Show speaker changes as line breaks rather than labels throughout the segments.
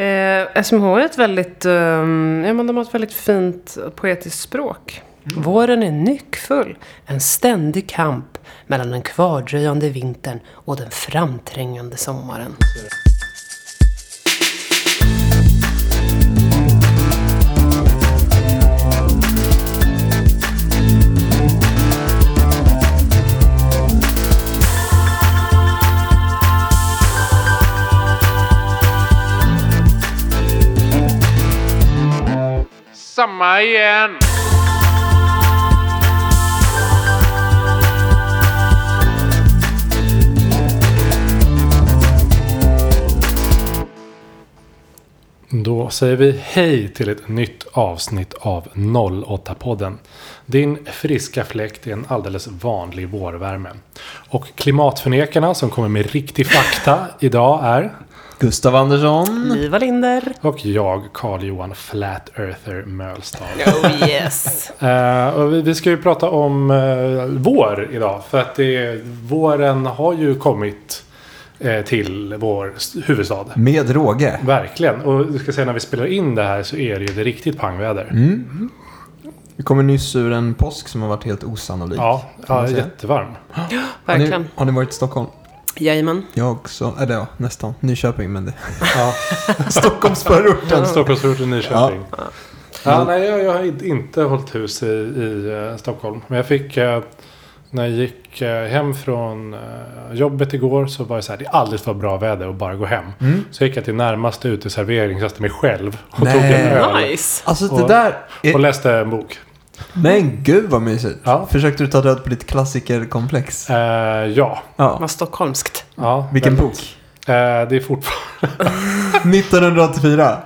Eh, SMH är ett väldigt, eh, ja, men de har ett väldigt fint poetiskt språk. Våren är nyckfull. En ständig kamp mellan den kvardröjande vintern och den framträngande sommaren.
Samma igen.
Då säger vi hej till ett nytt avsnitt av 08-podden. Din friska fläkt är en alldeles vanlig vårvärme. Och klimatförnekarna som kommer med riktig fakta idag är
Gustav Andersson.
Liva Linder.
och jag, Carl-Johan Flat Earther Mölstad.
Oh yes.
Eh, och vi, vi ska ju prata om eh, vår idag. För att det, våren har ju kommit eh, till vår s- huvudstad.
Med råge.
Verkligen. Och jag ska säga när vi spelar in det här så är det ju det riktigt pangväder.
Mm. Vi kommer nyss ur en påsk som har varit helt osannolik.
Ja,
kan man
ja
säga.
jättevarm.
har,
Verkligen.
ni, har ni varit i Stockholm?
Jajamän.
Jag också. Eller ja, nästan. Nyköping, men det...
Ja.
Stockholmsförorten.
Stockholmsförorten Nyköping. Ja. nej, jag, jag har in- inte hållit hus i, i eh, Stockholm. Men jag fick, eh, när jag gick eh, hem från eh, jobbet igår så var det så här, det är alldeles för bra väder att bara gå hem.
Mm.
Så gick jag till närmaste uteservering, satte mig själv och
Nej.
tog en öl.
Nice.
Alltså det
Och-
där... Är...
Och läste en bok.
Men gud vad mysigt.
Ja.
Försökte du ta död på ditt klassikerkomplex?
Eh, ja.
Ja.
Vad stockholmskt.
ja.
Vilken
väldigt.
bok?
Eh, det är fortfarande...
1984.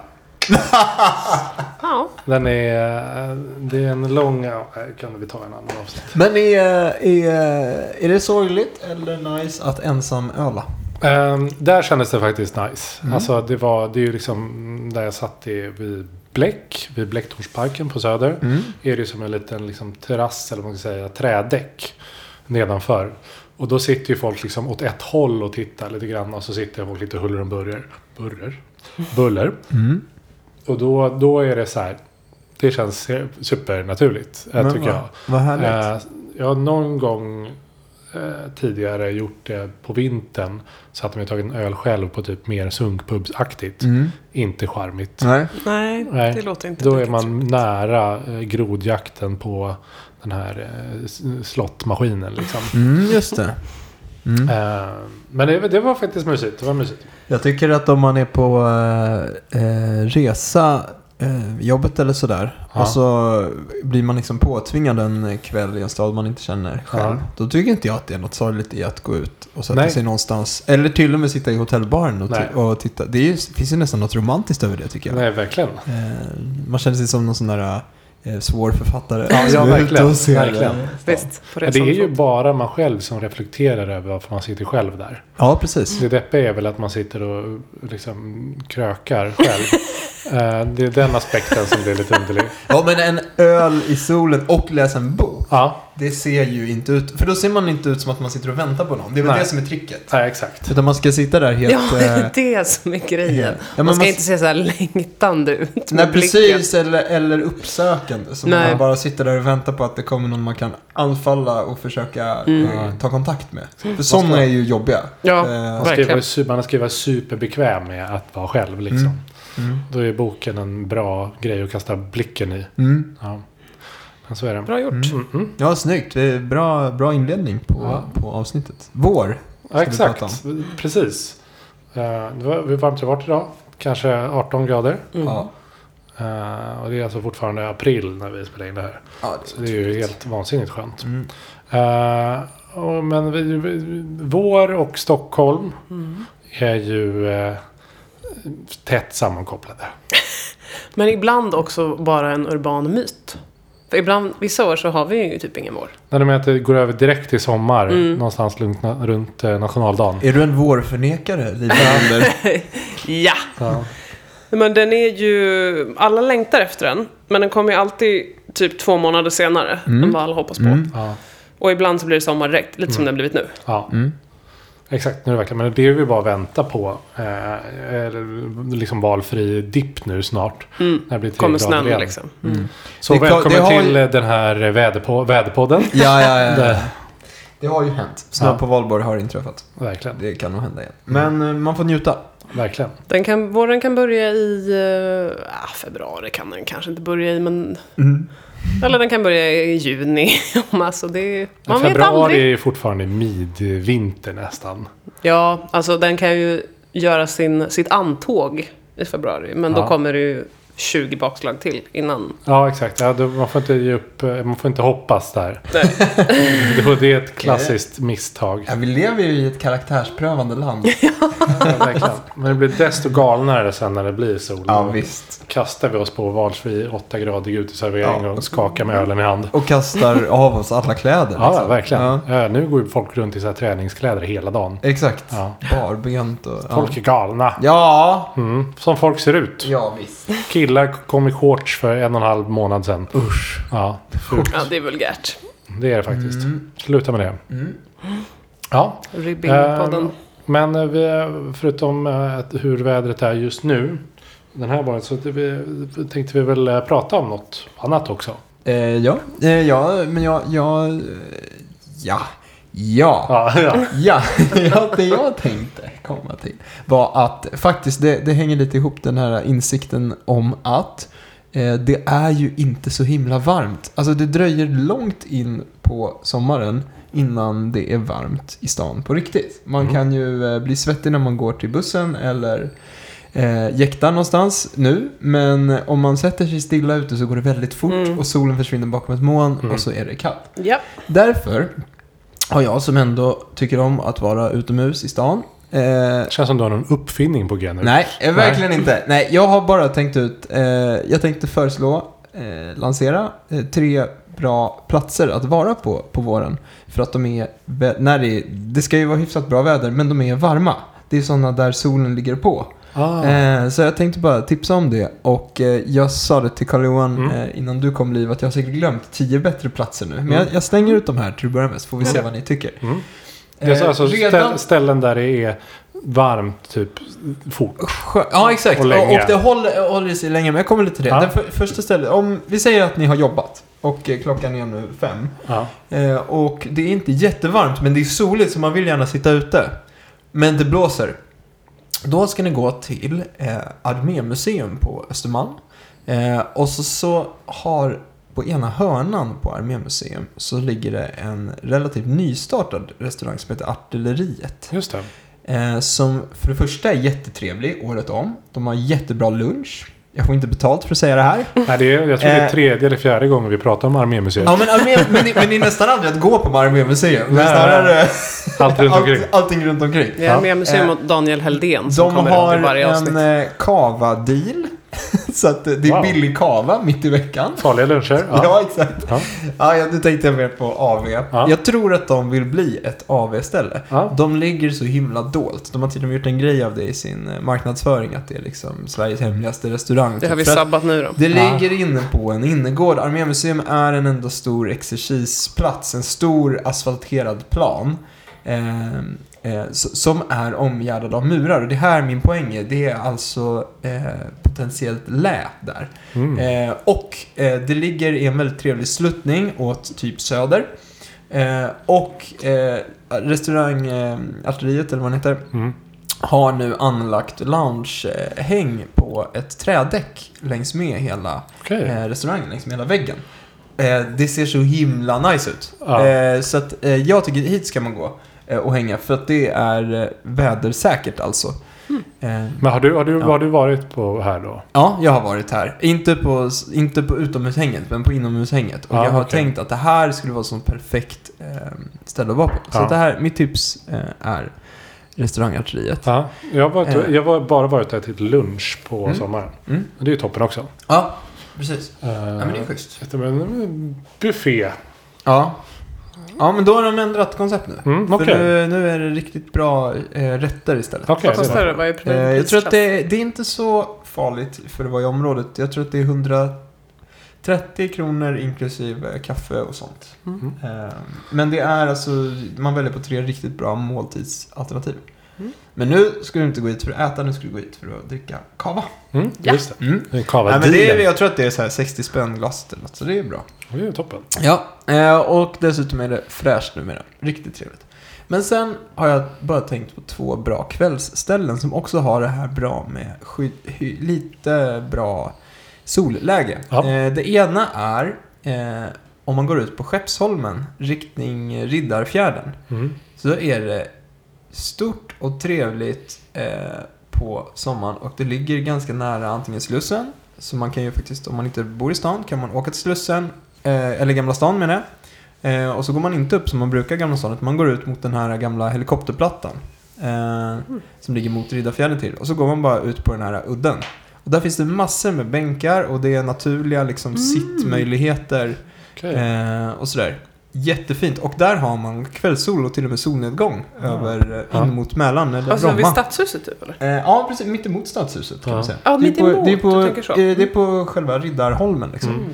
Ja.
Den är... eh, Det är en lång... ja, Kan vi ta en annan avsnitt?
Men är, är, är det sorgligt eller nice att ensam öla?
Ehm, där kändes det faktiskt nice.
Mm.
Alltså det var, det är ju liksom där jag satt i, vid Bläck, vid Bläcktornsparken på Söder. Är det ju som en liten liksom, terrass eller vad man ska säga, trädäck nedanför. Och då sitter ju folk liksom åt ett håll och tittar lite grann och så sitter folk lite huller om buller. Buller? Buller.
Mm.
Och då, då är det så här. Det känns supernaturligt, eh,
Men
tycker
vad-
jag.
Vad härligt.
Eh, jag har någon gång eh, tidigare gjort det på vintern. Så att de har tagit en öl själv på typ mer sunkpubsaktigt.
Mm.
Inte charmigt.
Nej.
Nej,
Nej,
det låter inte
Då är
lika
man
trevligt.
nära eh, grodjakten på den här eh, s- slottmaskinen. Liksom.
Mm, just det. Mm.
Eh, men det, det var faktiskt mysigt. Det var mysigt.
Jag tycker att om man är på eh, eh, resa, eh, jobbet eller sådär.
Ja.
Och så blir man liksom påtvingad en kväll i en stad man inte känner själv.
Ja.
Då tycker inte jag att det är något sorgligt i att gå ut och sätta
Nej.
sig någonstans. Eller till och med sitta i hotellbaren och,
Nej.
ti- och titta. Det är ju, finns ju nästan något romantiskt över det tycker jag.
Nej, verkligen.
Eh, man känner sig som någon sån där eh, svår författare.
Ja, ja,
som är ute
verkligen,
och ser,
verkligen.
eh,
Visst, på
Det
resan
är ju
fort.
bara man själv som reflekterar över varför man sitter själv där.
Ja, precis.
Det deppiga är väl att man sitter och liksom krökar själv. Eh, det är den aspekten som blir lite underlig.
Ja, men en öl i solen och läsa en bok.
Ja,
Det ser ju inte ut, för då ser man inte ut som att man sitter och väntar på någon. Det är väl
Nej.
det som är tricket.
nej, exakt.
Utan man ska sitta där helt...
Ja, typ det är
eh,
det som är grejen.
Ja, men
man ska
man-
inte se så här längtande ut med
nej,
blicken.
precis. Eller, eller uppsökande. Så
Nej.
man bara sitter där och väntar på att det kommer någon man kan anfalla och försöka eh, ta kontakt med. För sådana är ju jobbiga.
Mm. Ja,
Eh,
Man ska ju vara
Verkligen.
su- man ska ju vara superbekväm med att vara själv. Liksom.
Mm.
Då är boken en bra grej att kasta blicken i.
mm.
Ja. Men så är det.
Bra gjort.
Mm, mm.
ja snyggt. Det är bra, bra inledning på,
Ja.
på avsnittet. Vår.
Ja,
vi prata
exakt. Precis. Eh, Det var hur varmt det har varit idag. Kanske 18 grader.
Mm.
Ja.
Eh, Och det är alltså fortfarande april när vi spelar in det här.
Ja,
Så det är ju helt vansinnigt skönt.
Mm.
Eh, och, men vi, vi, vår och Stockholm
Mm.
är ju eh, tätt sammankopplade.
Men ibland också bara en urban myt. För ibland, vissa år så har vi ju typ ingen vår.
När de menar att det går över direkt till sommar
Mm.
någonstans lugnt na- runt eh, nationaldagen.
Är du en vårförnekare, Liva Linder?
Ja!
Ja.
Men den är ju... Alla längtar efter den. Men den kommer ju alltid typ två månader senare än vad alla hoppas på.
Ja.
Mm. Och ibland så blir det sommar direkt. Lite som det har blivit nu.
Ja. Exakt, nu är det verkligen. Men det är vi bara vänta på. Eh, eller liksom valfri dipp nu snart. När det blir tre
Mm. Kommer
grader
snön
igen.
liksom.
Så
Det är klart-
välkommen
det har Eh.
till eh, den här väderpo- väderpodden. Eh,
Ja, ja, ja.
Det-
Det har ju hänt. Snö
Ja.
på valborg har inträffat.
Verkligen,
Det kan nog hända igen. Men eh, man får njuta.
verkligen.
Den kan, våren kan börja i eh, ah, februari, kan den kanske inte börja i, men... Eller den kan börja i juni. om alltså det, man vet aldrig.
Februari är fortfarande midvinter nästan.
Ja, alltså den kan ju göra sin, sitt antåg i februari. Men då
Ja.
kommer det ju 20 bakslag till innan.
Ja, exakt. Ja, då, man, får inte ge upp, eh, man får inte hoppas där. det, det är ett klassiskt misstag.
Ja, vi lever ju i ett karaktärsprövande land.
Ja, verkligen. Men det blir desto galnare sen när det blir sol.
Ja,
Då
visst.
kastar vi oss på valfri 8-gradig uteservering
Ja.
och skakar med ölen i hand.
Och kastar av oss alla kläder.
Ja,
liksom.
verkligen.
Ja,
Ja, nu går ju folk runt i så här träningskläder hela dagen.
exakt.
Ja.
Barbent och... ja.
Folk är galna.
Ja.
Mm. Som folk ser ut.
Ja, visst.
Killar kom i shorts för en och en halv månad sedan.
Usch.
Ja, fult.
Ja, det är vulgärt.
Det är det faktiskt.
Mm.
Sluta med det. Ja.
Ribbing-podden.
Eh,
Ehm,
Men eh, vi, förutom eh, att hur vädret är just nu. Den här våren så att vi, tänkte vi väl eh, prata om något annat också.
Eh, ja. Eh, ja, men jag... jag eh, ja. Ja.
Ja, ja.
Ja, ja, det jag tänkte komma till var att faktiskt det, det hänger lite ihop den här insikten om att eh, det är ju inte så himla varmt. Alltså det dröjer långt in på sommaren innan det är varmt i stan på riktigt. Man kan ju eh, bli svettig när man går till bussen eller eh, jäktar någonstans nu. Men om man sätter sig stilla ute så går det väldigt fort och solen försvinner bakom ett moln och så är det kallt.
Ja,
Därför har jag som ändå tycker om att vara utomhus i stan. Eh,
Det känns som du har någon uppfinning på g nu.
nej, eh, verkligen inte. Nej, jag har bara tänkt ut. Eh, jag tänkte föreslå, eh, lansera eh, tre bra platser att vara på på våren. För att de är, vä- när det, är- det ska ju vara hyfsat bra väder, men de är varma. Det är sådana där solen ligger på.
Ah,
Eh, så jag tänkte bara tipsa om det. Och eh, jag sa det till Carl-Johan eh, innan du kom Liv att jag har säkert glömt tio bättre platser nu. Men jag, jag slänger ut de här till att börja med så får vi se vad ni tycker.
Mm. det är så-
Eh,
alltså, ställ,
redan-
ställen där det är varmt typ fort.
Skö- Ja, exakt.
Och
Och,
länge.
och det håller, håller sig länge, men jag kommer lite till det.
Ja.
Den för, första stället, om vi säger att ni har jobbat och eh, klockan är nu fem.
Ja.
Eh, och det är inte jättevarmt, men det är soligt så man vill gärna sitta ute. Men det blåser. Då ska ni gå till eh, Armémuseum på Östermalm. Eh, och så, så har på ena hörnan på Armémuseum så ligger det en relativt nystartad restaurang som heter Artilleriet.
Just det.
Eh, som för det första är jättetrevlig året om. De har jättebra lunch. Jag får inte betalt för att säga det här.
Nej, det är, jag tror det är
Eh.
tredje eller fjärde gången vi pratar om Armémuseet.
Ja, men, armé, men, det- men det är nästan aldrig att gå på Armémuseum. Det är
Nej.
snarare
Allt runt omkring.
allt, allting runt omkring.
vi har med museum
Eh,
och Daniel Heldén som
De
kommer
har
runt i varje avsnitt.
en eh, kava-deal. Så att eh, det är
Wow.
billig kava mitt i veckan.
Farliga luncher.
Ja,
Ja.
exakt.
Ja.
Ja, ja, nu tänkte jag mer på AV.
Ja.
Jag tror att de vill bli ett AV-ställe.
Ja.
De ligger så himla dolt. De har till och med gjort en grej av det i sin eh, marknadsföring. Att det är liksom Sveriges hemligaste restaurang. Typ
det har vi
För att
sabbat nu då.
det
Ja.
ligger inne på en innergård. Armémuseum är en enda stor exercisplats. En stor asfalterad plan. Eh, eh, s- som är omgärdad av murar. Och det här min poäng är. Det är alltså eh, potentiellt lä där.
Mm.
Eh, och eh, det ligger i en väldigt trevlig sluttning åt typ söder. Eh, och eh, restaurangarteriet, eller vad den heter,
Mm.
har nu anlagt loungehäng på ett trädäck längs med hela
Okej.
eh, restaurangen, längs med hela väggen. Eh, det ser så himla nice ut.
Ja.
Eh, så att, eh, jag tycker hit ska man gå eh, och hänga för att det är eh, vädersäkert alltså. Eh,
Men har du, har, du,
Ja.
har du varit på här då?
Ja, jag har varit här. Inte på, inte på utomhushänget, men på inomhushänget. Och
Ja,
jag har
okej.
tänkt att det här skulle vara ett sånt perfekt eh, ställe att vara på. Så
Ja.
det här, mitt tips eh, är restaurangarteriet.
Ja. Jag har varit,
Eh.
jag har bara varit där till lunch på
Mm.
sommaren.
Mm.
Det är ju toppen också.
Ja, precis.
Uh,
Ja, men det är schysst.
eh, buffé.
Ja. Ja, men då har de ändrat koncept nu.
Mm,
För
okej.
nu, nu är det riktigt bra eh, rätter istället.
Okej.
Vad kostar det? Vad är
Eh,
priset?
jag tror att det, det är inte så farligt för att vara i området. Jag tror att det är 110 30 kronor inklusive kaffe och sånt.
Mm.
Eh, Men det är alltså, man väljer på tre riktigt bra måltidsalternativ.
Mm.
Men nu ska du inte gå hit för att äta, nu ska du gå hit för att dricka kava.
Mm,
Ja.
Just det.
Mm.
En kava
Nej, men det är, jag tror att det är så här 60 spänn glaset eller något, så det är bra.
Det är ju toppen.
Ja, eh, och dessutom är det fräscht numera. Riktigt trevligt. Men sen har jag bara tänkt på två bra kvällsställen som också har det här bra med sky- hy- lite bra solläge.
Ja.
Eh, det ena är eh, om man går ut på Skeppsholmen riktning Riddarfjärden.
Mm.
Så är det stort och trevligt eh, på sommaren och det ligger ganska nära antingen Slussen, så man kan ju faktiskt, om man inte bor i stan, kan man åka till Slussen, eh, eller Gamla stan menar jag. Eh, och så går man inte upp som man brukar i Gamla stan, utan man går ut mot den här gamla helikopterplattan. Eh, Som ligger mot Riddarfjärden till. Och så går man bara ut på den här udden. Och där finns det massor med bänkar och det är naturliga liksom sittmöjligheter.
Okej. Mm.
Eh, och sådär. Jättefint. Och där har man kvällssol och till och med solnedgång över, eh,
Ja.
in mot Mälaren eller
Alltså vid
Bromma.
Stadshuset typ eller?
Eh, ja, precis. Mitt emot Stadshuset kan
Ja.
man säga.
Ja,
Det är
mitt
på-
emot,
Det är på,
du tänker så.
eh, det är på själva Riddarholmen liksom.
Mm.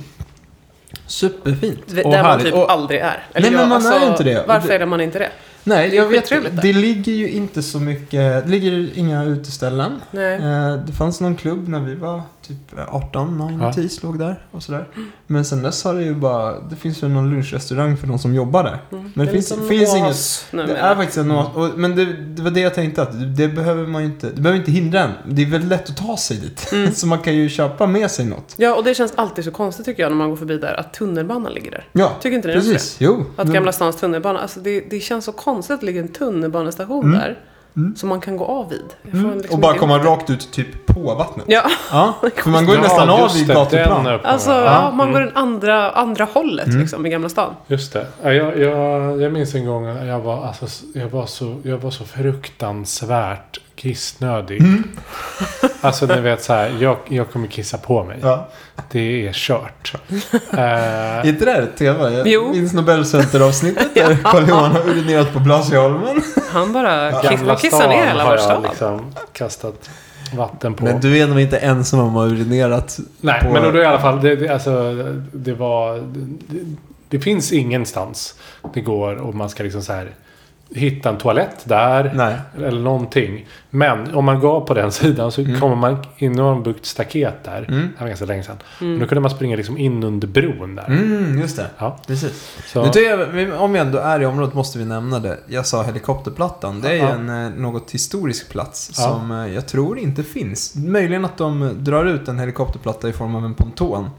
Superfint
Där
och
man
härligt.
typ
Och,
aldrig är.
Nej, men
jag-
man är inte det. Och
Varför
det-
är man inte det?
nej,
det är
jag vet
skittrevligt där.
Det ligger ju inte så mycket, det ligger inga uteställen.
Nej.
Eh, Det fanns någon klubb när vi var typ 18, 9,
Ja.
10 låg där och sådär. Men sen dess har det ju bara, det finns ju någon lunchrestaurang för de som jobbar där.
Mm.
Men det
är
finns-
liksom
finns
oas
Det
Nu
är faktiskt en
Mm.
oas, och, men det, det var det jag tänkte att det behöver man ju inte, det behöver inte hindra en. Det är väldigt lätt att ta sig dit.
Mm.
så man kan ju köpa med sig något.
Ja, och det känns alltid så konstigt tycker jag när man går förbi där att tunnelbanan ligger där.
Ja,
Tycker inte ni också
precis. Jo. Mm.
det? Att
men-
Gamla stans tunnelbana, alltså det, det känns så konstigt att det ligger en tunnelbanestation
Mm.
där.
Mm.
Som man kan gå av vid. Jag får
Mm.
liksom
och bara
inte
komma
ihop det.
rakt ut typ på vattnet.
Ja,
Ja, för man går ju nästan av
just
vid
det,
gatuplan.
den eh, öppningen.
alltså
Ja.
ja, man går den andra, andra hållet
Mm.
liksom i Gamla stan.
Just det. Ja, Jag, jag, jag minns en gång att jag var, alltså, jag var, så, jag var så fruktansvärt kissnödig.
Mm.
Alltså ni vet så här, jag, jag kommer kissa på mig.
Ja.
Det är kört. Eh,
Är inte det här ett tema? Jag
Jo.
minns Nobelcenter-avsnittet där Carl-Johan har urinerat på Blasieholmen.
Han bara kiss,
gamla
bara kissar ner hela
har
vår
jag
stad.
liksom kastat vatten på.
Men du är nog inte ensam om att ha urinerat.
Nej,
på-
men då, då i alla fall. Det, det, alltså, det var... Det, det finns ingenstans det går och man ska liksom så här hitta en toalett där.
Nej.
Eller någonting. Men om man går på den sidan så
Mm.
kommer man in och har en byggt staket där. Det här var ganska länge sedan.
Mm.
Men då kunde man springa liksom in under bron där.
Mm, just det.
Ja,
Precis.
så,
Nu tar jag, men om vi ändå är i området måste vi nämna det. Jag sa helikopterplattan. Det är ju
Ja.
en eh, något historisk plats
Ja.
som eh, jag tror inte finns. Möjligen att de eh, drar ut en helikopterplatta i form av en ponton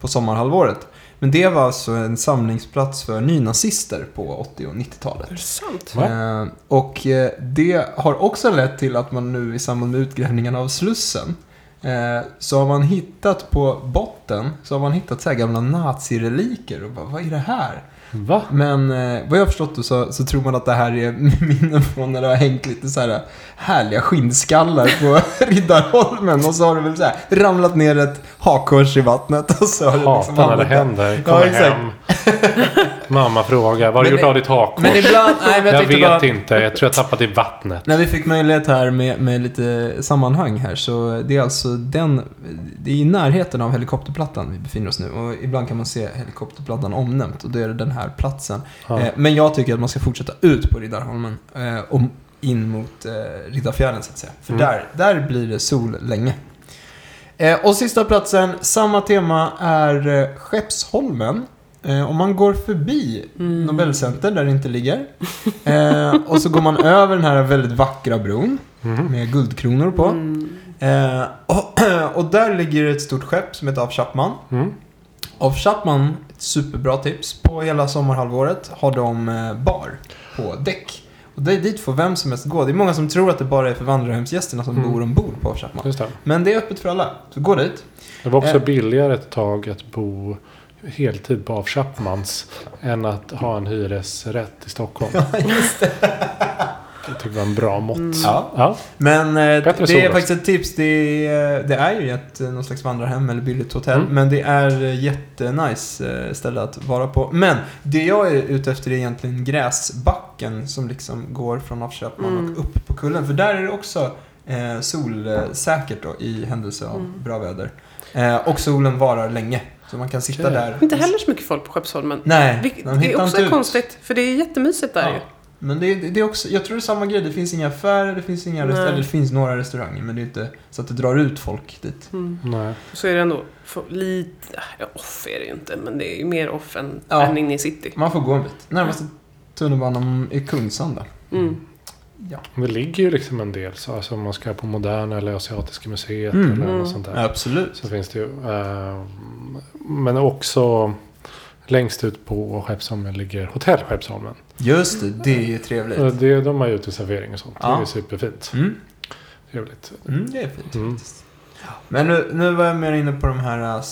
på sommarhalvåret. Men det var alltså en samlingsplats för nynazister på 80 och 90-talet.
Är det sant?
Va?
Eh, och eh, det har också lett till att man nu i samband med utgrävningen av Slussen eh, så har man hittat på botten så har man hittat så här gamla nazireliker och bara, vad är det här?
va?
Men eh, vad jag har förstått då, så, så tror man att det här är minnen från när det har hängt lite så här eh, härliga skinnskallar på Riddarholmen och så har det väl så här ramlat ner ett hakkors i vattnet och så har det
Hatar
liksom
när det
hamnat där.
händer. Kommer
exakt.
hem. Mamma frågar. Vad har du
Men-
gjort av ditt hakkors?
Men ibland, nej, men
Jag
tyckte
vet
bara-
inte. Jag tror jag tappat i vattnet.
När vi fick möjlighet här med, med lite sammanhang här så det är alltså den, det är i närheten av helikopterplattan vi befinner oss nu och ibland kan man se helikopterplattan omnämnt och då är det den här platsen.
Ja.
Eh, men jag tycker att man ska fortsätta ut på Riddarholmen eh, och in mot eh, Riddarfjärden så att säga. För
Mm.
där, där blir det sol länge. Eh, och sista platsen, samma tema, är eh, Skeppsholmen. Eh, om man går förbi Nobelcenter där det inte ligger. Eh, och så går man över den här väldigt vackra bron
Mhm.
med guldkronor på.
Mm.
Eh, och, och där ligger ett stort skepp som heter Av Chapman.
Mm.
Av Chapman, ett superbra tips. På hela sommarhalvåret har de eh, bar på däck. Och det är dit får vem som helst gå. Det är många som tror att det bara är för vandrarhemsgästerna som
Mm.
bor ombord på Av Chapman.
Just det.
Men det är öppet för alla. Så gå dit.
Det var också
Eh.
billigare ett tag att bo heltid på af Chapmans än att ha en hyresrätt i Stockholm. Det tycker jag var en bra mått.
Ja.
Ja.
Men eh,
Bättre
det är
solas.
faktiskt ett tips. Det är, det är ju ett, eh, någon slags vandrarhem eller billigt hotell.
Mm.
Men det är eh, jättenice eh, ställe att vara på. Men det jag är ute efter är egentligen gräsbacken som liksom går från Afköpman
Mm.
och upp på kullen. För där är det också eh, solsäkert då i händelse av
Mm.
bra väder. Eh, och solen varar länge. Så man kan sitta
Okej.
där.
Inte heller så mycket folk på Skeppsholmen.
Nej,
Vilket
de
det
hittar
är också
inte ut.
konstigt, för det är jättemysigt där ju.
Ja. Men det, det är också, jag tror det är samma grej. Det finns inga affärer, det finns inga
Nej.
restauranger. Eller det finns några restauranger, men det är inte så att det drar ut folk dit.
Mm.
Nej.
Så är det ändå för lite... Ja, off är det ju inte, men det är ju mer off än,
Ja.
än inne i city.
Man får gå en bit. Närmaste tunnelbanan är Kungsanda.
Mm.
Det ligger ju liksom en del. Så, alltså om man ska på Moderna eller Asiatiska museet
Mm.
eller
Mm.
något sånt där.
Absolut.
Så finns det ju. eh, men också längst ut på Skeppsholmen ligger Hotell Skeppsholmen.
Just det, det är trevligt.
Och Det, de har ju uteservering och sånt.
Ja.
Det är superfint.
Mm.
Trevligt.
Mm, det är fint
Mm.
faktiskt. Men nu, nu var jag mer inne på de här äh,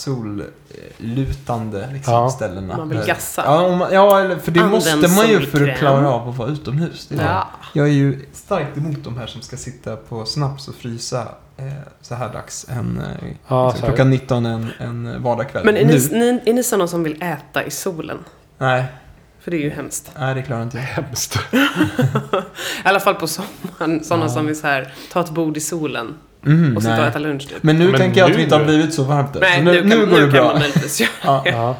sollutande liksom,
Ja.
ställena.
Man vill
Där-
gassa.
Ja, om man, ja eller, för det
Använd
måste man ju för
solkräm.
att klara av att vara utomhus. Det är det.
Ja.
Jag är ju starkt emot de här som ska sitta på snaps och frysa eh, så här dags. En, eh,
Ja,
liksom,
så här.
klockan 19 en, en vardagkväll.
Men är
nu?
ni, ni, är ni sådana som vill äta i solen?
Nej,
För det är ju hemskt.
nej, det klarar inte jag.
Hemskt.
I alla fall på sommaren. Sådana
Ja.
som vill så här, ta ett bord i solen
Mm,
och sitta och
nej.
äta lunch. Typ.
Men nu
Men
tänker jag att vi
nu-
inte har blivit så varmt än.
Nej,
så nu, nu,
kan,
går det
kan
bra.
man möjligtvis göra
ja.
Ja.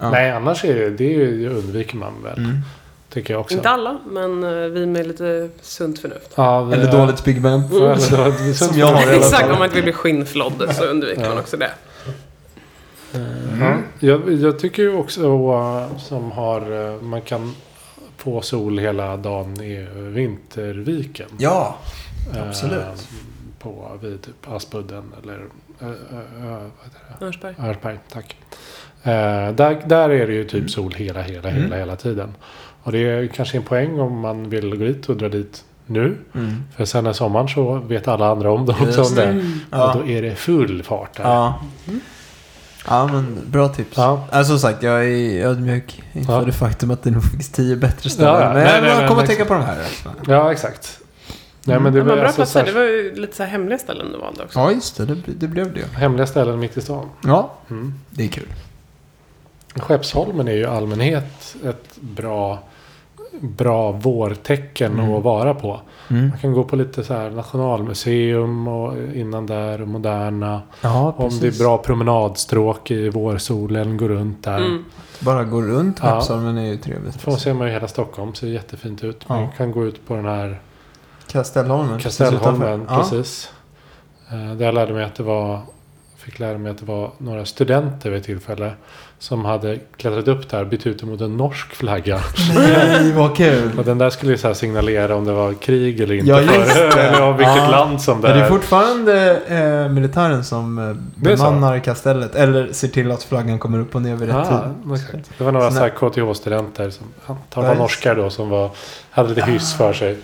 Ja.
Nej, annars är det, det är ju- undviker man väl.
Mm.
Tycker jag också.
Inte alla, men eh, vi med lite sunt förnuft.
Ja, vi-
Eller dåligt Big Ben.
Ja, eller dåligt.
Som jag har i alla fall.
Exakt, om man inte vill bli skinnflodd så undviker
Ja.
man också det.
Ja, Mm. jag, jag tycker ju också eh, som har eh, man kan få sol hela dagen i Vinterviken.
Ja,
Eh,
absolut.
På, vid typ Aspudden eller eh, eh, eh, vad heter det?
Örnsberg.
Örberg, tack. Eh, där, där är det ju typ sol hela, hela,
Mm.
hela, hela tiden. Och det är kanske en poäng om man vill gå dit och dra dit nu.
Mm.
För sen när sommaren så vet alla andra om det
Just
också. Om
det.
Mm.
det.
Ja.
Och då är det full fart där.
Ja. Ja men bra tips.
Ja.
Äh, som sagt, jag är ödmjuk inför
Ja.
det faktum att det nog finns tio bättre ställen.
Ja, ja.
Men
Nej, liksom-
jag
nej, nej,
kommer att
nej.
tänka på de här. Alltså.
Ja, exakt. Nej, men det
Ja, men
var
bra
alltså
platser.
särskilt
Det var ju lite så här hemliga ställen du valde också.
Ja just det, det, bl- det blev det.
hemliga ställen mitt i stan.
Ja,
Mm.
det är kul.
Skeppsholmen är ju i allmänhet ett bra, bra vårtecken
Mm.
att vara på. Man kan gå på lite så här nationalmuseum och innan där och moderna.
Ja,
Om det är bra promenadstråk i vårsolen, gå runt där.
Mm.
Bara gå runt
Ja.
Skeppsholmen är ju trevligt.
Från ser man ju hela Stockholm, ser jättefint ut. Man
Ja.
kan gå ut på den här
Kastellholmen. precis
Kastellholmen,
utanför.
precis. Eh, Där jag lärde mig att det var, fick lära mig att det var några studenter vid ett tillfälle som hade klättrat upp där, bytt ut mot en norsk flagga.
Ja. Nej, vad kul.
Och den där skulle ju så här signalera om det var krig eller inte.
Ja, just
för-
det.
eller om vilket
Ja.
land som det
Men
är.
det är fortfarande eh, militären som eh,
Det är så.
bemannar kastellet. Eller ser till att flaggan kommer upp och ner vid rätt
Ah,
tid.
exakt. Det var några
Såna-
så här KTH-studenter som antagligen
Ja,
var
just- Ah.
norskar då som var, hade lite hyss för sig.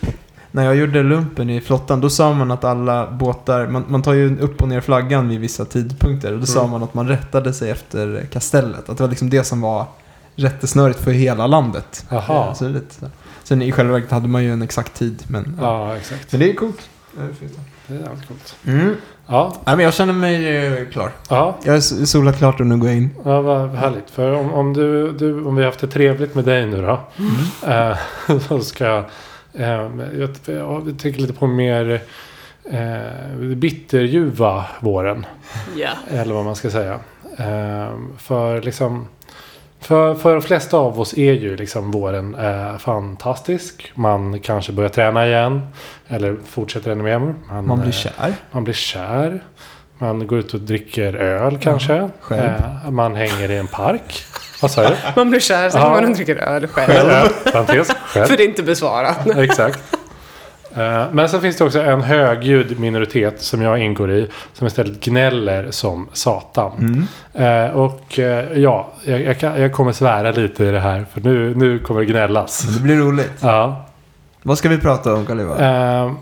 När jag gjorde lumpen i flottan då sa man att alla båtar, man, man tar ju upp och ner flaggan vid vissa tidpunkter och då sa
Mm.
man att man rättade sig efter kastellet. Att det var liksom det som var rättesnöret för hela landet.
Jaha.
Så det är lite så. Sen i själva verket hade man ju en exakt tid men,
Ja, ah, exakt.
men det är coolt. Ja, det är fint.
Det är jävligt coolt.
Mm.
Ja,
Nej, men jag känner mig eh, klar.
ja.
Jag är s- solat klart och nu går jag in.
Ja, vad härligt. För om, om, du, du, om vi har haft det trevligt med dig nu då.
Mm.
eh, så ska jag, eh, jag, jag tänker lite på mer eh, bitterljuva våren.
Ja.
Eller vad man ska säga. Eh, för liksom... För, för de flesta av oss är ju liksom våren eh, fantastisk. Man kanske börjar träna igen. Eller fortsätter ännu mer.
Man blir
eh,
kär.
man blir kär. Man går ut och dricker öl kanske.
själv.
Eh, man hänger i en park. Vad sa du?
Man blir kär, sen
Ja.
går man och dricker öl själv.
Själv. Parentes.
För
Själv.
det är inte besvarat.
Exakt. Eh, Men sen finns det också en högljudd minoritet som jag ingår i. Som istället gnäller som satan.
Mm.
Eh, och eh, ja, jag, jag, kan, jag kommer svära lite i det här. För nu, nu kommer det gnällas.
Men det blir roligt.
Ja.
Vad ska vi prata om Karl Johan?
Eh,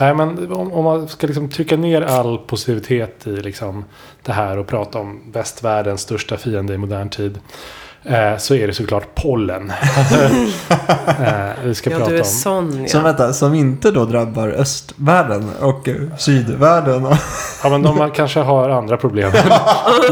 nej, men om, om man ska liksom trycka ner all positivitet i liksom det här och prata om västvärldens största fiende i modern tid. eh, så är det såklart pollen. eh, vi ska
Ja,
prata
du är
om.
sån
Som,
ja.
vänta, som inte då drabbar östvärlden och eh, sydvärlden. och-
Ja, men de har- kanske har andra problem.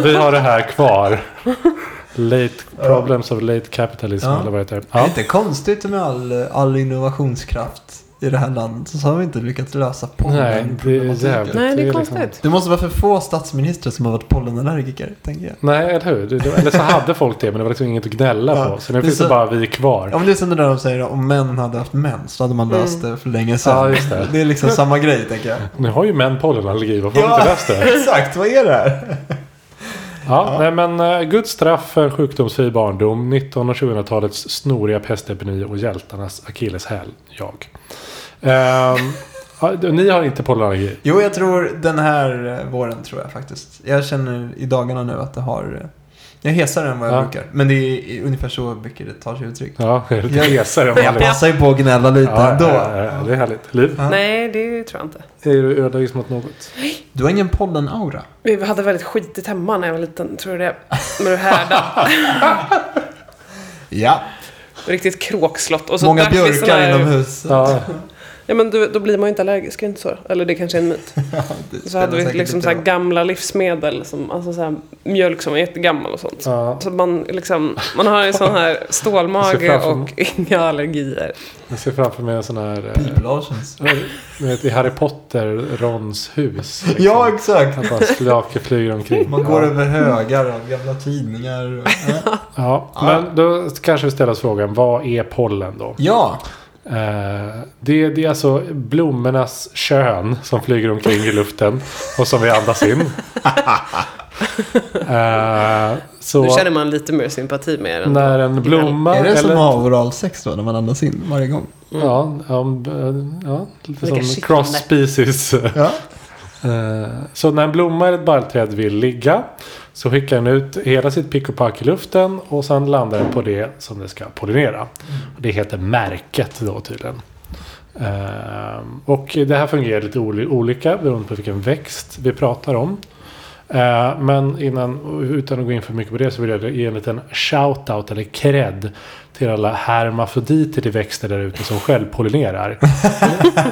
vi har det här kvar. Late problems of late capitalism
Ja.
eller vad det heter.
Det är
Ja.
inte konstigt med all, all innovationskraft i det här landet. Så har vi inte lyckats lösa
Nej,
pollen.
det är jävligt.
Nej, det är
liksom-
konstigt.
Det måste vara för få statsministrar som har varit pollenallergiker, tänker jag.
Nej, eller hur? Det- det- Eller så hade folk det, men det var liksom inget att gnälla
Ja,
på. Så nu
det är
finns det
så-
bara vi kvar.
Ja, men det är som det där de säger om män hade haft mens så hade man löst det för länge sedan.
Mm. Ja, just det.
är liksom samma grej, tänker jag.
Nu har ju män pollenallergi, varför har de inte löst det?
exakt. Vad är det här?
Ja, Nej, men eh, Guds straff för sjukdomsfri barndom, 19 och 2000-talets snoriga pestepidemi och hjältarnas akilleshäl, jag. Ehm, ja, d- ni har inte pollenallergi?
Jo, jag tror den här eh, våren tror jag faktiskt. Jag känner i dagarna nu att det har... eh, Jag är hesare än vad jag
Ja.
brukar. Men det är i- ungefär så mycket det tar sig uttryck.
Ja, jag är lite
Jag-
hesare än
Jag
vanligt.
passar ju på att gnälla lite
Ja,
ändå.
ja, ja, det är härligt. Liv,
Ja.
Nej, det tror jag inte.
är du ödmjuk mot något?
Du har ingen pollenaura.
Vi hade väldigt skitigt hemma när jag var liten, tror jag det. Med det härda.
Ja.
Riktigt kråkslott. Och så
Alltså, Många
drack vi sån
björkar
här-
inomhus.
Ja,
Ja, men du, då blir man ju inte allergisk, är det inte så? Eller det kanske är en myt. Så hade vi liksom så här gamla livsmedel, som, alltså så här, mjölk som var jättegammal och sånt.
ja,
Så man, liksom, man har en sån här
Jag ser
stålmage
framför mig.
och inga allergier.
jag ser framför mig en sån här... eh,
Piplarsens.
Du vet, i Harry Potter, Rons hus. liksom.
Ja, exakt.
Att bara slaker flyger omkring.
Man går
ja.
över högar av gamla tidningar. och- Ja.
Ja, men då kanske vi ställer oss frågan, vad är pollen då?
ja.
Eh, det, det är alltså blommornas kön som flyger omkring i luften och som vi andas in. Eh,
Nu
så
känner man lite mer sympati med den.
när en blomma...
Är det som
eller,
att ha oralsex då, när man andas in varje gång?
Ja, om, eh, ja lite
Vilka
som
kittlande.
cross species.
Ja.
Eh, Så när en blomma eller ett barrträd vill ligga så skickar den ut hela sitt pick och pack i luften och sen landar den på det som det ska pollinera. Och Det heter märket då tydligen. Eh, Och det här fungerar lite oli- olika beroende på vilken växt vi pratar om. Eh, Men innan, utan att gå in för mycket på det så vill jag ge en liten shout-out eller cred till alla hermafroditer i växter där ute som självpollinerar.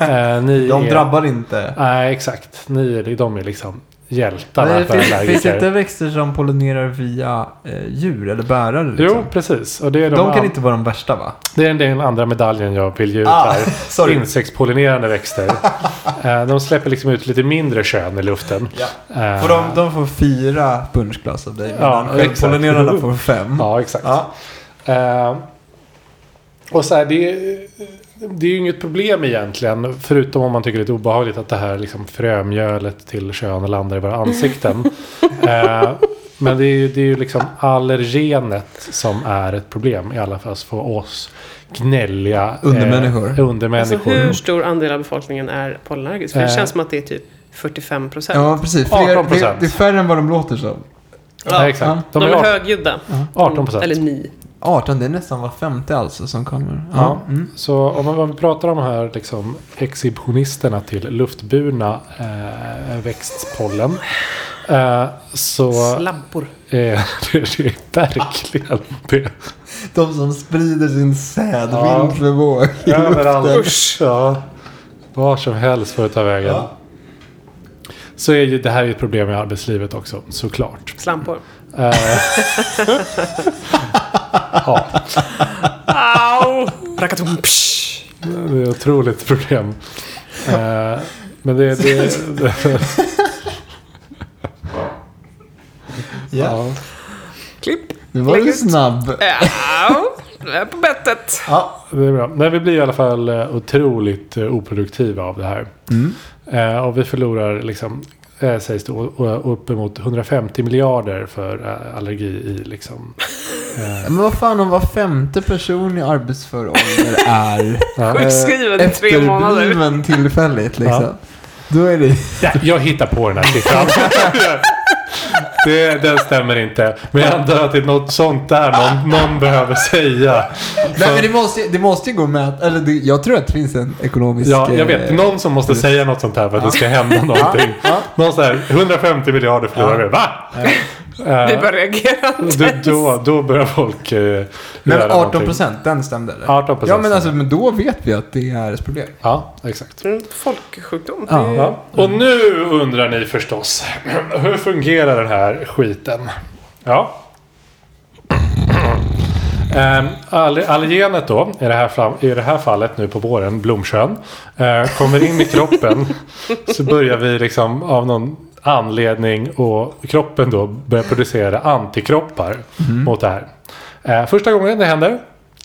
Eh, ni
De
är-
drabbar inte.
Nej, exakt. Ni är, de är liksom hjältarna
Nej,
för
finns, finns
allergiker.
inte växter som pollinerar via eh, djur eller bärare?
Jo,
Liksom?
precis. Och det är, de
De kan
an-
inte vara de värsta va?
det är den andra medaljen jag vill ge ut
Ah,
här.
sorry.
Insektspollinerande växter. Eh, de släpper liksom ut lite mindre kön i luften.
Ja.
Eh,
För de, de får fyra punschglas av dig.
Ja,
medan
exakt.
Pollinerarna får fem.
Ja, exakt.
Mm. Ja.
Eh, och så här, det, det är ju inget problem egentligen. Förutom om man tycker det är lite obehagligt att det här liksom frömjölet till kön landar i våra ansikten. eh, men det är, ju, det är ju liksom allergenet som är ett problem. I alla fall för oss gnälliga
Undermänniskor.
Eh, undermänniskor.
Alltså hur stor andel av befolkningen är pollenallergisk? För det
Eh.
känns som att det är typ 45 procent.
ja, precis. Fler,
18%.
det, det är färre än vad de låter som.
Nej, exakt.
Ja.
De,
De,
är
är
högljudda.
18 procent.
Eller ni.
18, det är nästan var femte alltså som kommer.
Ja,
Mm.
Så om man om vi pratar om de här liksom, exhibitionisterna till luftburna eh, växtpollen. Eh, så
Slampor.
eh, det, det är verkligen det.
De som sprider sin säd
Ja.
vind för våg. i luften.
Överallt. Ja, var som helst för att ta vägen.
Ja.
Så är ju, det här är ett problem i arbetslivet också, såklart.
Slampor.
Eh, ja.
Au! Rakatum, psh.
Det är ett otroligt problem. Eh, men det, det,
Ja.
ja. Äh.
Klipp.
Nu var du
Lägg ut.
snabb.
Au! Du är på bettet.
Ja.
Det är bra. Nej, vi blir i alla fall eh, otroligt eh, oproduktiva av det här. Eh, och vi förlorar liksom, eh, sägs det, o- o- uppemot 150 miljarder för eh, allergi i liksom.
Men vad fan om var femte person i arbetsför ålder är
Ja.
Sjukskriven i tre månader.
Eh, efterbliven tillfälligt liksom.
Ja.
Då är det...
Ja, Jag hittar på den här siffran. Det, den stämmer inte. Men jag antar att det är något sånt där någon, någon behöver säga.
Nej men det måste, ju- det måste ju gå med att- eller det, jag tror att det finns en ekonomisk...
Ja, jag
eh,
vet. Någon som måste säga något sånt här för att det ska hända någonting. Någon så här, 150 miljarder förlorar vi. Va? Eh,
Vi börjar reagera.
Då, då, då börjar folk eh,
Men
göra
18
någonting.
procent, den stämde eller?
18%
Ja men alltså,
stämde.
men då vet vi att det är ett problem.
Ja, exakt.
Folksjukdom.
Ja.
Ja. Och nu undrar ni förstås. Hur fungerar den här skiten? Ja. Eh, all- Allergenet då, i det, här fram, i det här fallet nu på våren, Blomkön, eh, kommer in i kroppen. så börjar vi liksom av någon anledning och kroppen då börjar producera antikroppar
Mm.
mot det här. Eh, första gången det händer,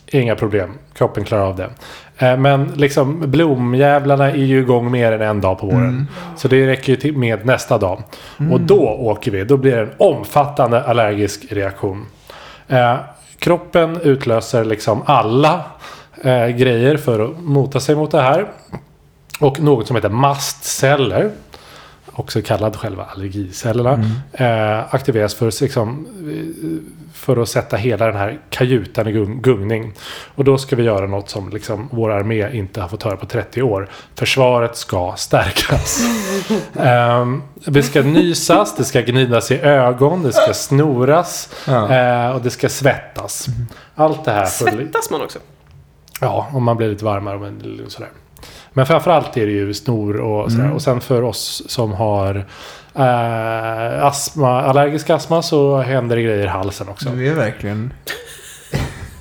inga problem. Kroppen klarar av det. Eh, men liksom blomjävlarna är ju igång mer än en dag på våren. Så det räcker ju till med nästa dag. Och då åker vi. Då blir det en omfattande allergisk reaktion. Eh, kroppen utlöser liksom alla eh, grejer för att mota sig mot det här. Och något som heter mastceller. Också kallad själva allergicellerna. Eh, aktiveras för, att liksom, eh, för att sätta hela den här kajutan i gung- gungning. Och då ska vi göra något som liksom vår armé inte har fått höra på 30 år. Försvaret ska stärkas. Ehm, det ska nysas, det ska gnidas i ögon, det ska snoras
Ja.
eh, och det ska svettas. Allt det här. för-
Svettas man också?
Ja, om man blir lite varmare. Men, sådär. men framförallt är det ju snor och sådär. Och sen för oss som har eh, astma, allergisk astma så händer det grejer i halsen också.
Du är verkligen...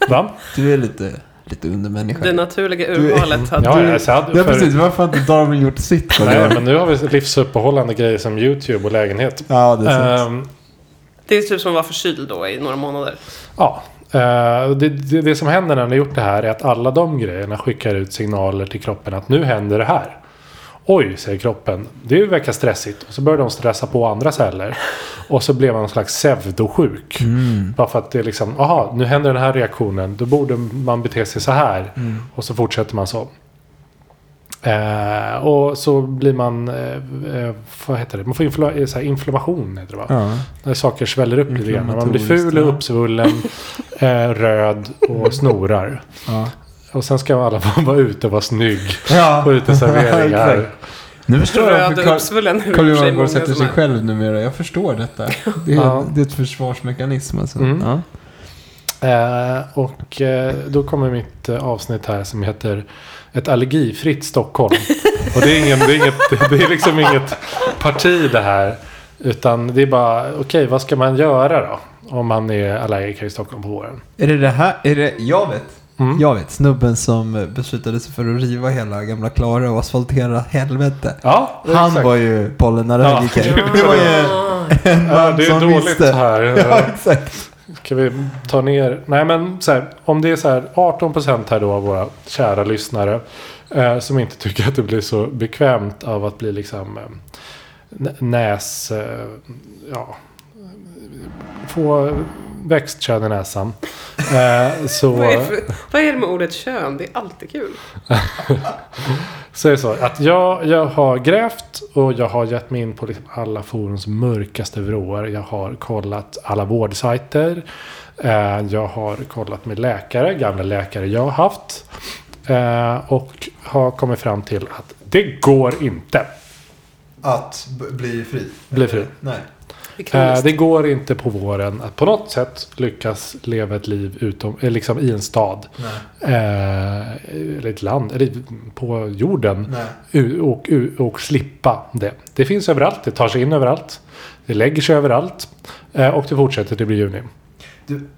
Va?
Du är lite, lite undermänniska. Eh,
Det naturliga urvalet hade...
Ja, ja, så hade,
Ja,
för-
precis. Varför har inte Darwin gjort sitt? på
Nej,
det?
men nu har vi livsuppehållande grejer som YouTube och lägenhet.
Ja, det är sant.
Ehm,
Det är typ som att vara förkyld då i några månader.
Ja. eh, Det, det, det som händer när ni har gjort det här är att alla de grejerna skickar ut signaler till kroppen att nu händer det här. Oj, säger kroppen. Det verkar stressigt. Och så börjar de stressa på andra celler. Och så blir man någon slags pseudosjuk.
Mm.
Bara för att det är liksom, aha, nu händer den här reaktionen. Då borde man bete sig så här.
mm.
Och så fortsätter man så. Eh, och så blir man, eh, eh, vad heter det, man får infla- eh, så här, inflammation heter det va?
Ja.
När saker sväller upp lite grann. Man blir
Inflammatoriskt,
ful och
ja.
uppsvullen, eh, röd och snorar.
Ja.
Och sen ska alla vara ute och vara snygg på
Ja.
uteserveringar.
Exakt. Nu förstår jag
Röd
varför
och
Carl-
uppsvullen hur
Carl
i och för sig
Johan går
många
och sätter
som
sig
är.
själv numera. Jag förstår detta. Det är,
Ja.
det är ett försvarsmekanism alltså.
Mm.
Ja.
eh, och eh, då kommer mitt eh, avsnitt här som heter Ett allergifritt Stockholm. och det är, ingen, det, är inget, det är liksom inget parti det här. Utan det är bara, okej vad ska man göra då? Om man är allergiker i Stockholm på våren.
Är det det här? Är det, jag vet.
Mm.
Jag vet. Snubben som eh, beslutade sig för att riva hela gamla Klara och asfaltera helvete.
Ja,
Han var ju pollenallergiker.
Ja.
Det var ju en
Ja,
man
det är
som
dåligt
visste.
så här.
Ja, exakt.
Ska vi ta ner? Nej men så här, om det är så här 18% här då av våra kära lyssnare eh, som inte tycker att det blir så bekvämt av att bli liksom eh, n- näs... Eh, ja, få växtkön i näsan. Eh,
Vad är,
så,
det för, vad är det med ordet kön? Det är alltid kul.
så är det så att jag, jag har grävt och jag har gett mig in på liksom alla forums mörkaste vrår. Jag har kollat alla vårdsajter. Eh, Jag har kollat med läkare, gamla läkare jag har haft. Eh, Och har kommit fram till att det går inte.
Att b- bli fri.
Bli fri.
Nej.
Det är
Eh,
kroniskt.
Det går inte på våren att på något sätt lyckas leva ett liv utom, eh, liksom i en stad.
Nej.
Eh, Eller ett land, eller i- på jorden.
Nej.
U- och, u- och slippa det. Det finns överallt, det tar sig in överallt. Det lägger sig överallt. Eh, Och det fortsätter, det blir juni.
Du,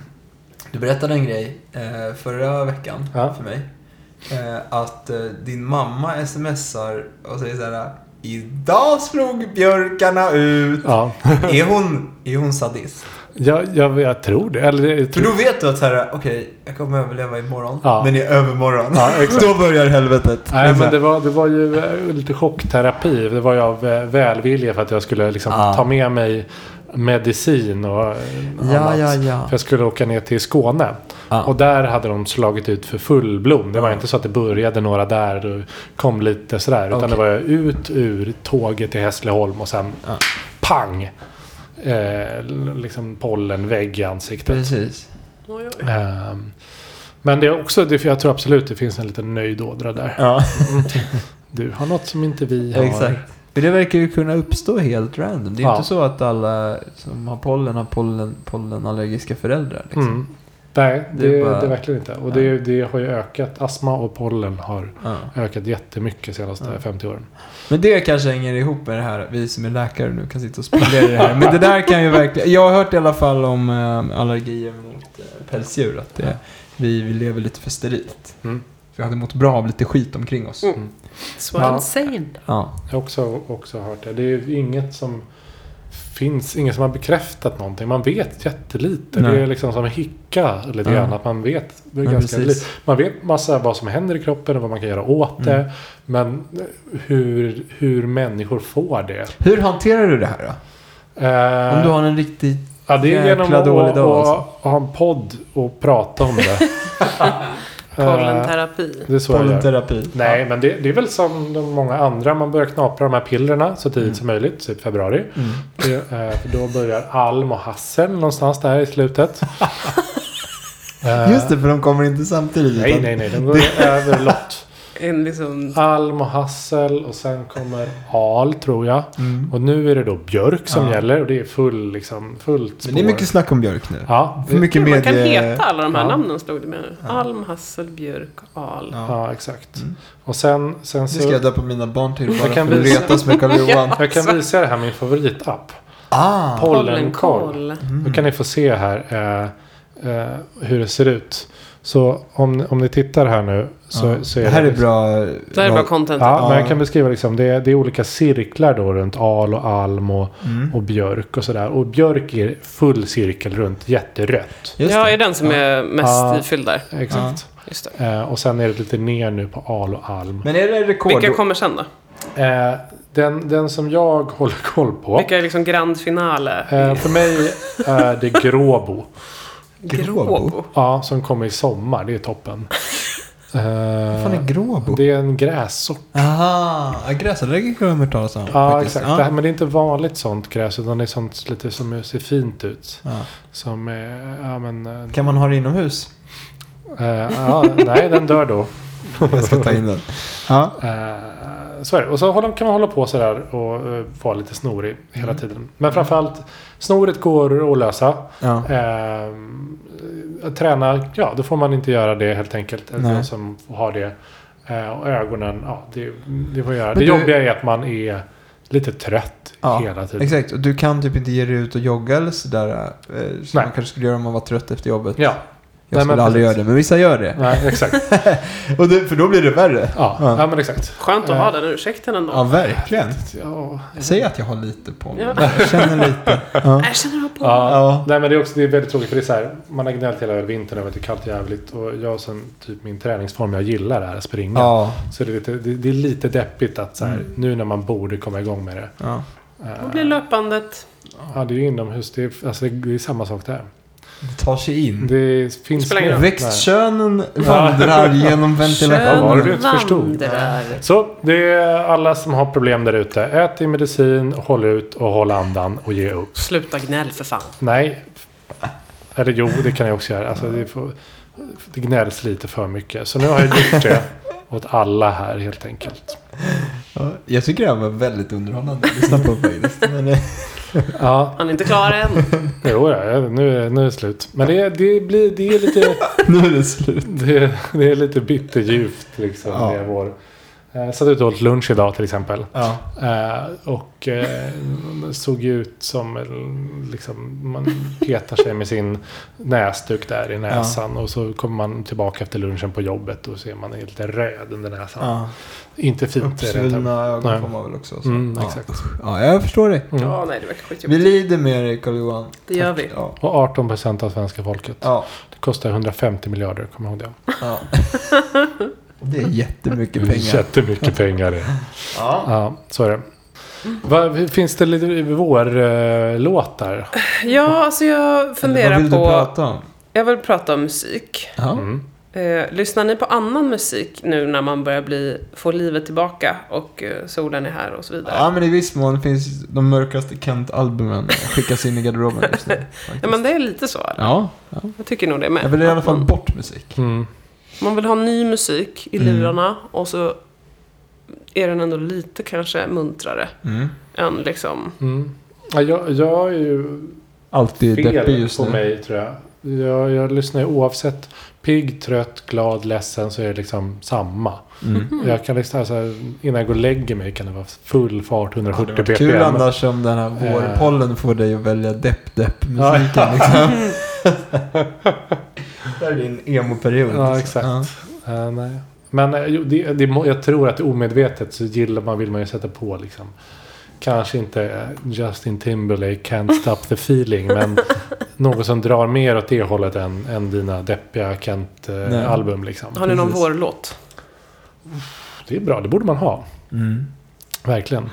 du berättade en grej eh, förra veckan
Ja.
för mig. Eh, att eh, din mamma smsar och säger så här. Idag slog björkarna ut.
Ja,
är, hon, är hon sadist?
jag, jag, jag tror det. Eller, jag
För
tror,
då vet du att så här, okej, jag kommer överleva imorgon.
Ja.
Men i övermorgon.
Ja, exakt.
då börjar helvetet.
nej,
Så här,
men det var, det var ju eh, lite chockterapi. Det var ju av eh, välvilja för att jag skulle liksom
Ja.
ta med mig medicin och eh,
Ja,
annat.
ja, ja.
För jag skulle åka ner till Skåne.
Ja.
Och där hade de slagit ut för full blom. Det var inte så att det började några där och kom lite sådär. Utan
Okej.
det var ut ur tåget till Hässleholm och sen
Ja.
pang! Eh, l- liksom pollenvägg i ansiktet.
Precis.
Oj, oj.
Ehm, men det är också, det, jag tror absolut det finns en liten nöjdådra där.
Ja,
Du har något som inte vi har.
exakt. För det verkar ju kunna uppstå helt random. Det är
Ja.
inte så att alla som har pollen har pollen, pollenallergiska föräldrar. Liksom.
Mm. Nej,
Det
det,
är
det,
bara-
är verkligen inte. Och det, det har ju ökat. Astma och pollen har
Ja.
ökat jättemycket de senaste
Ja.
50 åren.
Men det kanske hänger ihop med det här, vi som är läkare nu kan sitta och spekulera i det här. Men det där kan ju verkligen, jag har hört i alla fall om eh, allergier mot eh, pälsdjur, att det, vi, vi lever lite för sterilt.
Mm.
Vi hade mått bra av lite skit omkring oss.
Mm. Så
Ja.
I'm saying.
Ja.
Jag har också, också hört det. Det är ju inget som finns, ingen som har bekräftat någonting. Man vet jättelite.
Nej.
Det är liksom som hicka lite
Ja.
grann. Att man vet det är
Ja,
ganska
precis. Mm.
lite. Man vet massa vad som händer i kroppen och vad man kan göra åt det. Men hur, hur människor får det.
Hur hanterar du det här då?
Eh,
Om du har en riktig...
Ja, det är genom
Jäkla
att,
dålig
att,
dag,
att,
alltså.
ha en podd och prata om det. Eh,
Pollenterapi.
det är så jag gör.
Pollenterapi.
Nej, men det, det är väl som de många andra. Man börjar knapra de här pillerna så tidigt som möjligt. Typ februari.
Mm.
Det, eh, för då börjar alm och hassel någonstans där i slutet. Eh,
Just det, för de kommer inte samtidigt.
Nej,
utan-
nej, nej. De går över lott.
En liksom...
Alm och hassel och sen kommer al tror jag.
Mm.
Och nu är det då björk som
Ja.
gäller. Och det är full, liksom, fullt spår.
Men det är mycket snack om Björk nu.
Ja,
För
det,
mycket
Man kan
medie-
heta alla de här
Ja.
namnen slog det med. Alm, Hassel, Björk, Al.
Ja.
ja, exakt. Och sen, sen
Det ska
så...
jag döpa mina barn till bara
kan
för att
visa-
retas med Karl-Johan.
Jag kan visa er här min favoritapp.
Ah!
Pollenkoll.
Mm.
Då kan ni få se här eh, eh, hur det ser ut. Så om, om ni tittar här nu så,
Ja.
så är
det
det... liksom-
här är bra...
Det här är bra content.
Ja, men
Ja.
jag kan beskriva liksom. Det är, det är olika cirklar då runt al och alm och,
Mm.
och björk och sådär. Och björk är full cirkel runt, jätterött.
Just
ja,
det.
är den som
Ja.
är mest
Ja.
ifylld där.
Exakt.
Just det.
Eh, och sen är det lite ner nu på al och alm.
Men är det rekord?
Vilka kommer sen då?
Eh, den, den som jag håller koll på.
Vilka är liksom grand finale?
Eh, för mig är det gråbo.
Gråbo?
Ja, som kommer i sommar. Det är toppen.
Vad fan är
Eh,
gråbo?
det är en grässort.
Aha! ja, Gräsallergiker har jag hört talas om.
Ja,
faktiskt.
exakt.
Ja.
Det här, men det är inte vanligt sånt gräs. Utan det är sånt lite som ser fint ut.
Ja.
Som är... Ja, men... eh,
Kan man ha det inomhus?
eh, ja, nej, den dör då.
Jag ska ta in den. Ja.
Eh, så är det. Och så håller- kan man hålla på sådär och eh, vara lite snorig hela
Mm.
tiden. Men framförallt, snoret går att lösa.
ja.
Ehm, att träna, ja då får man inte göra det helt enkelt. Eller
Nej.
De som har det. Eh, och ögonen, ja det, det får jag göra.
Men
det
du-
jobbiga är att man är lite trött
Ja,
hela tiden.
Exakt, och du kan typ inte ge dig ut och jogga eller sådär. eh, Som
Nej.
man kanske skulle göra om man var trött efter jobbet.
Ja,
Jag
Nej,
skulle
men
aldrig
precis.
göra det, men vissa gör det.
nej, exakt.
Och det, för då blir det värre.
Ja,
Ja.
ja. men exakt.
Skönt att ha
Eh,
den ursäkten ändå.
Ja, verkligen.
Ja,
Säg att jag har lite på mig.
Ja.
Jag känner lite.
Nej, Jag känner på.
Ja.
Ja.
Nej men det är också det är väldigt tråkigt för det är så här, man har gnällt hela vintern över att det är kallt jävligt och jag som typ min träningsform jag gillar är att springa.
Ja. Mm.
Så det är, lite, det, det är lite deppigt att så här, nu när man borde komma igång med det. eh,
ja.
Då blir löpandet.
Ja det är ju inomhus, det är, alltså, det är samma sak där.
Det tar sig in.
Det finns
Spelar ingen roll.
Växtkönen vandrar genom
Vad var det
ventilationen.
du inte förstod?
vandrar.
Så det är alla som har problem där ute. Ät din medicin, håll ut och håll andan och ge upp.
Sluta gnäll för fan.
Nej. Eller jo, det kan jag också göra. Alltså, det, får, det gnälls lite för mycket. Så nu har jag gjort det åt alla här helt enkelt.
Ja, jag tycker det här var väldigt underhållande att lyssna på faktiskt. Men, eh,
Ja,
Han är inte klar än.
Mm.
jo, ja, nu, är- nu är det slut. Men det, det, blir, det är lite...
nu är det slut.
Det, det är lite bitterljuvt liksom.
Ja.
Det är vår. Eh, satt ute och åt lunch idag till exempel.
Ja.
Eh, och eh, såg ju ut som en- liksom, man petar sig med sin näsduk där i näsan. Och så kommer man tillbaka efter lunchen på jobbet och ser man är lite röd under näsan.
Ja.
Inte fint. är det inte.
Uppsvullna ögon
Nej.
får man väl också. Så.
Mm,
ja.
Exakt.
ja, jag förstår dig.
Mm.
Ja, nej, det verkar
Vi
skitjobbigt.
lider med dig Carl-Johan.
Det gör
Tack.
vi.
Ja.
Och 18 procent av svenska folket.
Ja,
Det kostar 150 miljarder, kommer jag ihåg det?
ja. Det är jättemycket
Det är
pengar.
jättemycket pengar det.
Ja.
Ja, så är det. Va, finns det lite vårlåtar?
Ja, alltså jag
Vad
funderar
vill du
på...
prata om?
Jag vill prata om musik.
Ja.
Mm.
Eh, lyssnar ni på annan musik nu när man börjar bli, få livet tillbaka och eh, solen är här och så vidare?
ja, men i viss mån finns de mörkaste Kent-albumen skickas in i garderoben just nu. faktiskt.
Ja, men det är lite så. eller?
ja. ja.
Jag tycker nog det med.
Jag vill i alla fall
man,
bort musik.
Mm.
man vill ha ny musik i
Mm.
lurarna och så är den ändå lite kanske muntrare
Mm.
än liksom...
Mm. Ja, jag, jag är ju
Alltid deppig
fel
just
på
nu.
mig tror jag. Jag, jag lyssnar ju oavsett pigg, trött, glad, ledsen så är det liksom samma.
Mm. Hmm.
Jag kan liksom, alltså, innan jag går och lägger mig kan det vara full fart 140 bpm.
Kul annars om den här vårpollen får dig att välja depp-depp-musiken. liksom. det här är din emo-period.
Ja, exakt. Eh, nej. Men eh, jo, det, det, må- jag tror att omedvetet så gillar man, vill man ju sätta på liksom. Kanske inte eh, Justin Timberlake, Can't Stop The Feeling. men något som drar mer åt det hållet än, än dina deppiga
Nej.
Kent-album. liksom.
Har ni någon
precis.
vårlåt?
Det är bra, det borde man ha.
Mm.
Verkligen. Eh,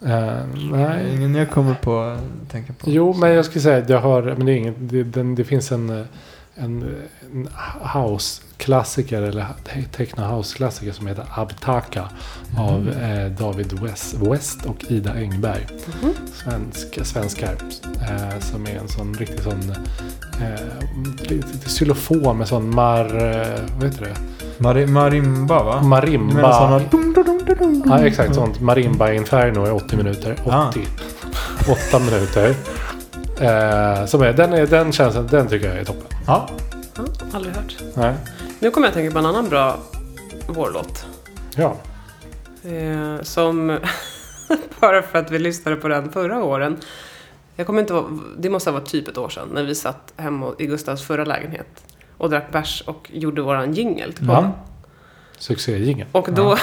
Det är
nej.
Ingen jag kommer på att tänka på.
Jo, men jag skulle säga att jag har... Men det, är inget, det, den, det finns en, eh, en, en house-klassiker, eller te- techno-house-klassiker som heter Abtaka av
Mm.
eh, David West, West och Ida Engberg.
Mm-hmm.
Svensk, svenskar. Eh, som är en sån riktig sån... Eh, lite, lite xylofon med sån mar... Eh, vad heter det?
Mari- marimba va? Du menar
Marimba.
sådana... dum, dum, dum, dum, dum.
Ja, exakt. Sånt marimba inferno i 80 minuter. 80.
Mm.
8
Ah.
minuter. Eh, som är, den, är, den känslan, den tycker jag är toppen.
Ja.
Ja, aldrig hört.
Nej.
Nu kommer jag att tänka på en annan bra vårlåt.
Ja.
Eh, som, bara för att vi lyssnade på den förra åren. Jag kommer inte ihåg- det måste ha varit typ ett år sedan, när vi satt hemma i Gustavs förra lägenhet och drack bärs och gjorde våran jingel till podden.
Ja.
Succéjingeln.
Och då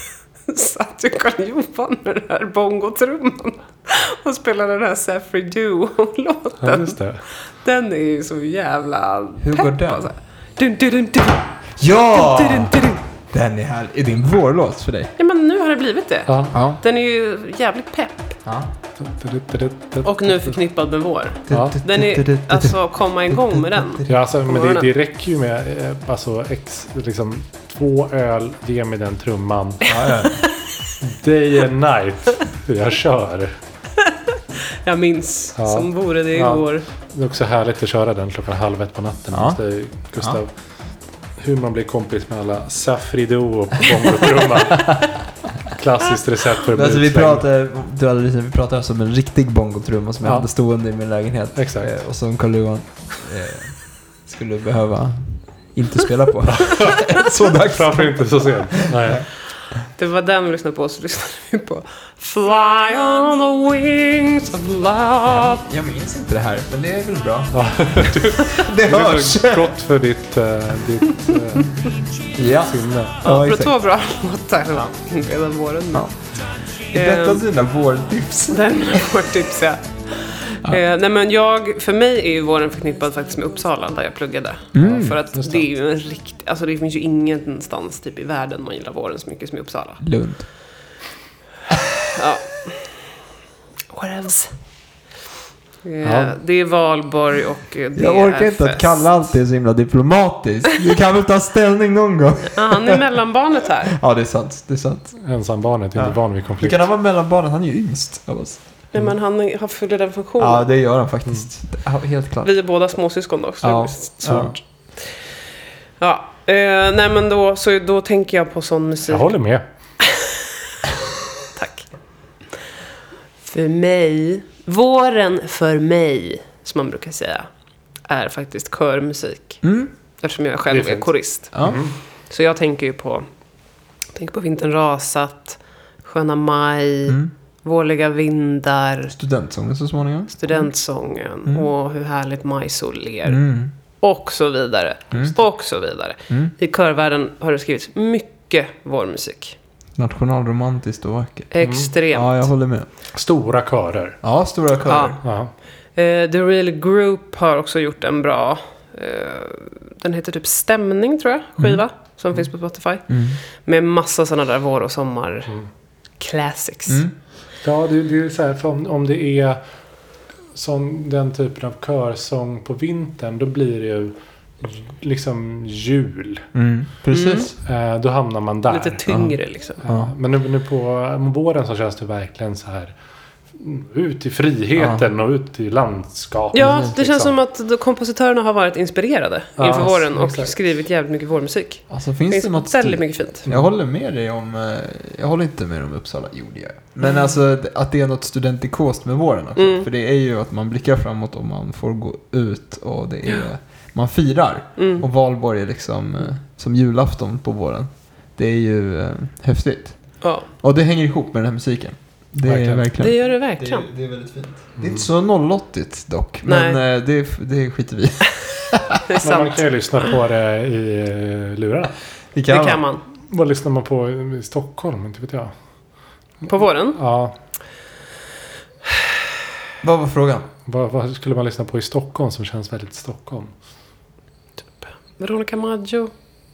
satt ju Carl-Johan med den här bongotrumman och spelade den här Saffrey
Ja,
Duo-låten.
just det.
Den är ju så jävla
Hur
pepp,
går den? Ah.
alltså. Dun, dun, dun, dun,
ja!
dun, dun, dun.
Den är här. Är det en vårlåt för dig?
Ja, men nu har det blivit det.
Ja.
Ja.
Den är ju jävligt pepp.
ja.
Och nu förknippad med vår. Den är, alltså komma igång med den.
Ja, alltså, men det,
morgonen.
det räcker ju med eh, alltså, ex, liksom, två öl, ge mig den trumman.
Ja, ja.
Day and night. Jag kör.
Jag minns
Ja.
som vore det
Ja.
igår.
Det är också härligt att köra den klockan halv ett på natten.
Ja.
Ja. Det, Gustav. Hur man blir kompis med alla Safrido och bongotrumman. Klassiskt recept för att bli
Alltså, vi,
utslängd.
pratar, du hade lite- vi pratar alltså om en riktig bongotrumma som jag
Ja.
hade stående i min lägenhet.
Exakt.
Eh, Och som Carl-Johan eh, skulle behöva inte spela på. Så dags.
Framför inte så sent. Nej.
Det var den vi lyssnade på och så lyssnade vi på Fly on the wings of love.
Jag minns inte det här, men det är väl bra.
Ja.
Det
Det är
hörs!
så gott för ditt, eh, ditt eh,
Ja,
sinne.
ja
För
exakt.
två bra låtar. Inleda våren med.
Ja. Är detta dina vårtips?
Den är vårt tips ja. Eh, nej men jag, för mig är ju våren förknippad faktiskt med Uppsala där jag pluggade. Ja, för att det.
Mm, just det.
är ju en riktig, alltså det finns ju ingenstans typ i världen man gillar våren så mycket som i Uppsala.
Lund.
Ja. What else? Eh,
Ja.
Det är valborg och eh, det
Jag
är
orkar inte att
fest.
kalla allt det så himla diplomatiskt. Du kan väl ta ställning någon gång?
Ja, han är mellanbarnet här.
Ja, det är sant. Det är sant.
Ensambarnet är inte van vid
Hur
konflikt.
kan han vara mellanbarnet? Han är ju yngst av oss.
Nej, men han är- han fyller den funktionen.
Ja, det gör han faktiskt. Ja, Helt klart.
Vi är båda småsyskon också.
Ja.
Svårt. Ja. Eh, nej men då, så då tänker jag på sån musik.
Jag håller med.
Tack. För mig, våren för mig, som man brukar säga, är faktiskt körmusik.
Mm.
Eftersom jag själv
Det är
är
fint.
korist.
Ja.
Så jag tänker ju på, jag tänker på Vintern rasat, Sköna maj,
Mm.
Vårliga vindar,
Studentsången så småningom.
Studentsången, Åh hur härligt majsol ler.
Mm.
Och så vidare. Och så vidare. I körvärlden har det skrivits mycket vårmusik.
Nationalromantiskt och vackert.
Extremt.
Ja, jag håller med.
Stora körer.
Ja, stora körer.
Ja.
Eh, The Real Group har också gjort en bra... Eh, den heter typ Stämning, tror jag,
Mm.
skiva. Som finns på Spotify. Med massa sådana där vår och sommar... Classics.
Mm.
Ja, det, det är så här, för om, om det är som den typen av körsång på vintern, då blir det ju liksom jul.
Mm. Precis.
Eh, då hamnar man där.
Lite tyngre liksom.
Ja, Men nu, nu på våren så känns det verkligen så här mm, ut i friheten och ut i landskapet.
Ja, det
liksom.
känns som att kompositörerna har varit inspirerade
Ja,
inför våren och
exakt.
skrivit jävligt mycket vårmusik.
Alltså
Det
finns det,
finns
något
väldigt mycket fint.
Jag håller med dig om, eh, jag håller inte med om Uppsala, jo det gör jag. Men alltså d- att det är något studentikost med våren också.
Mm.
För det är ju att man blickar framåt och man får gå ut och det är, man firar.
Mm.
Och valborg är liksom eh, som julafton på våren. Det är ju eh, häftigt.
Ja,
Och det hänger ihop med den här musiken. Det är
det
Verkligen.
verkligen.
gör det verkligen.
är, väldigt fint.
Mm.
Det är inte så 080 dock,
Nej.
men eh, det, är- det skiter vi i.
Det är
Men man
sant.
kan ju lyssna på det i eh, lurarna.
Det
Det kan man.
Vad lyssnar man på i Stockholm? Inte vet jag.
På våren?
Ja,
Vad var frågan?
vad, vad skulle man lyssna på i Stockholm som känns väldigt Stockholm?
Veronica Maggio?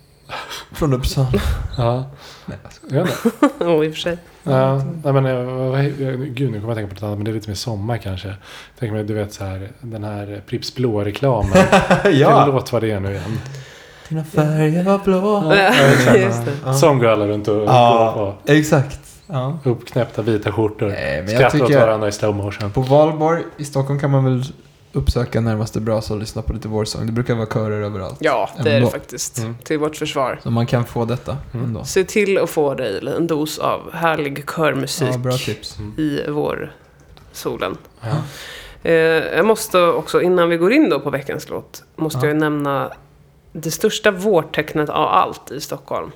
Från Uppsala.
Ja,
Nej,
jag vet inte.
Jo, Oh, i och för sig.
Ja, nej men, eh, vad he- eh, gud nu kommer jag tänka på något annat, men det är lite mer sommar kanske. Jag Tänker mig, du vet så här, den här eh, Pripps Blå-reklamen. Vilken låt var det nu igen?
Dina färger var blå.
Ja, just det.
Som går alla runt och
Ja,
ja.
exakt. Ja.
uppknäppta vita
Eh,
skjortor.
Nej, men jag
Skrattar åt
tycker-
varandra i slow motion.
På valborg i Stockholm kan man väl uppsöka närmaste brasa och lyssna på lite vårsång. Det brukar vara körer överallt.
Ja, det är det
Ändå.
faktiskt.
Mm.
Till vårt försvar.
Så man kan få detta
Mm.
ändå.
Se till att få dig en dos av härlig körmusik
Ja, bra tips.
i vår solen. Eh, jag måste också, innan vi går in då på veckans låt, måste
Ja.
jag ju nämna det största vårtecknet av allt i Stockholm.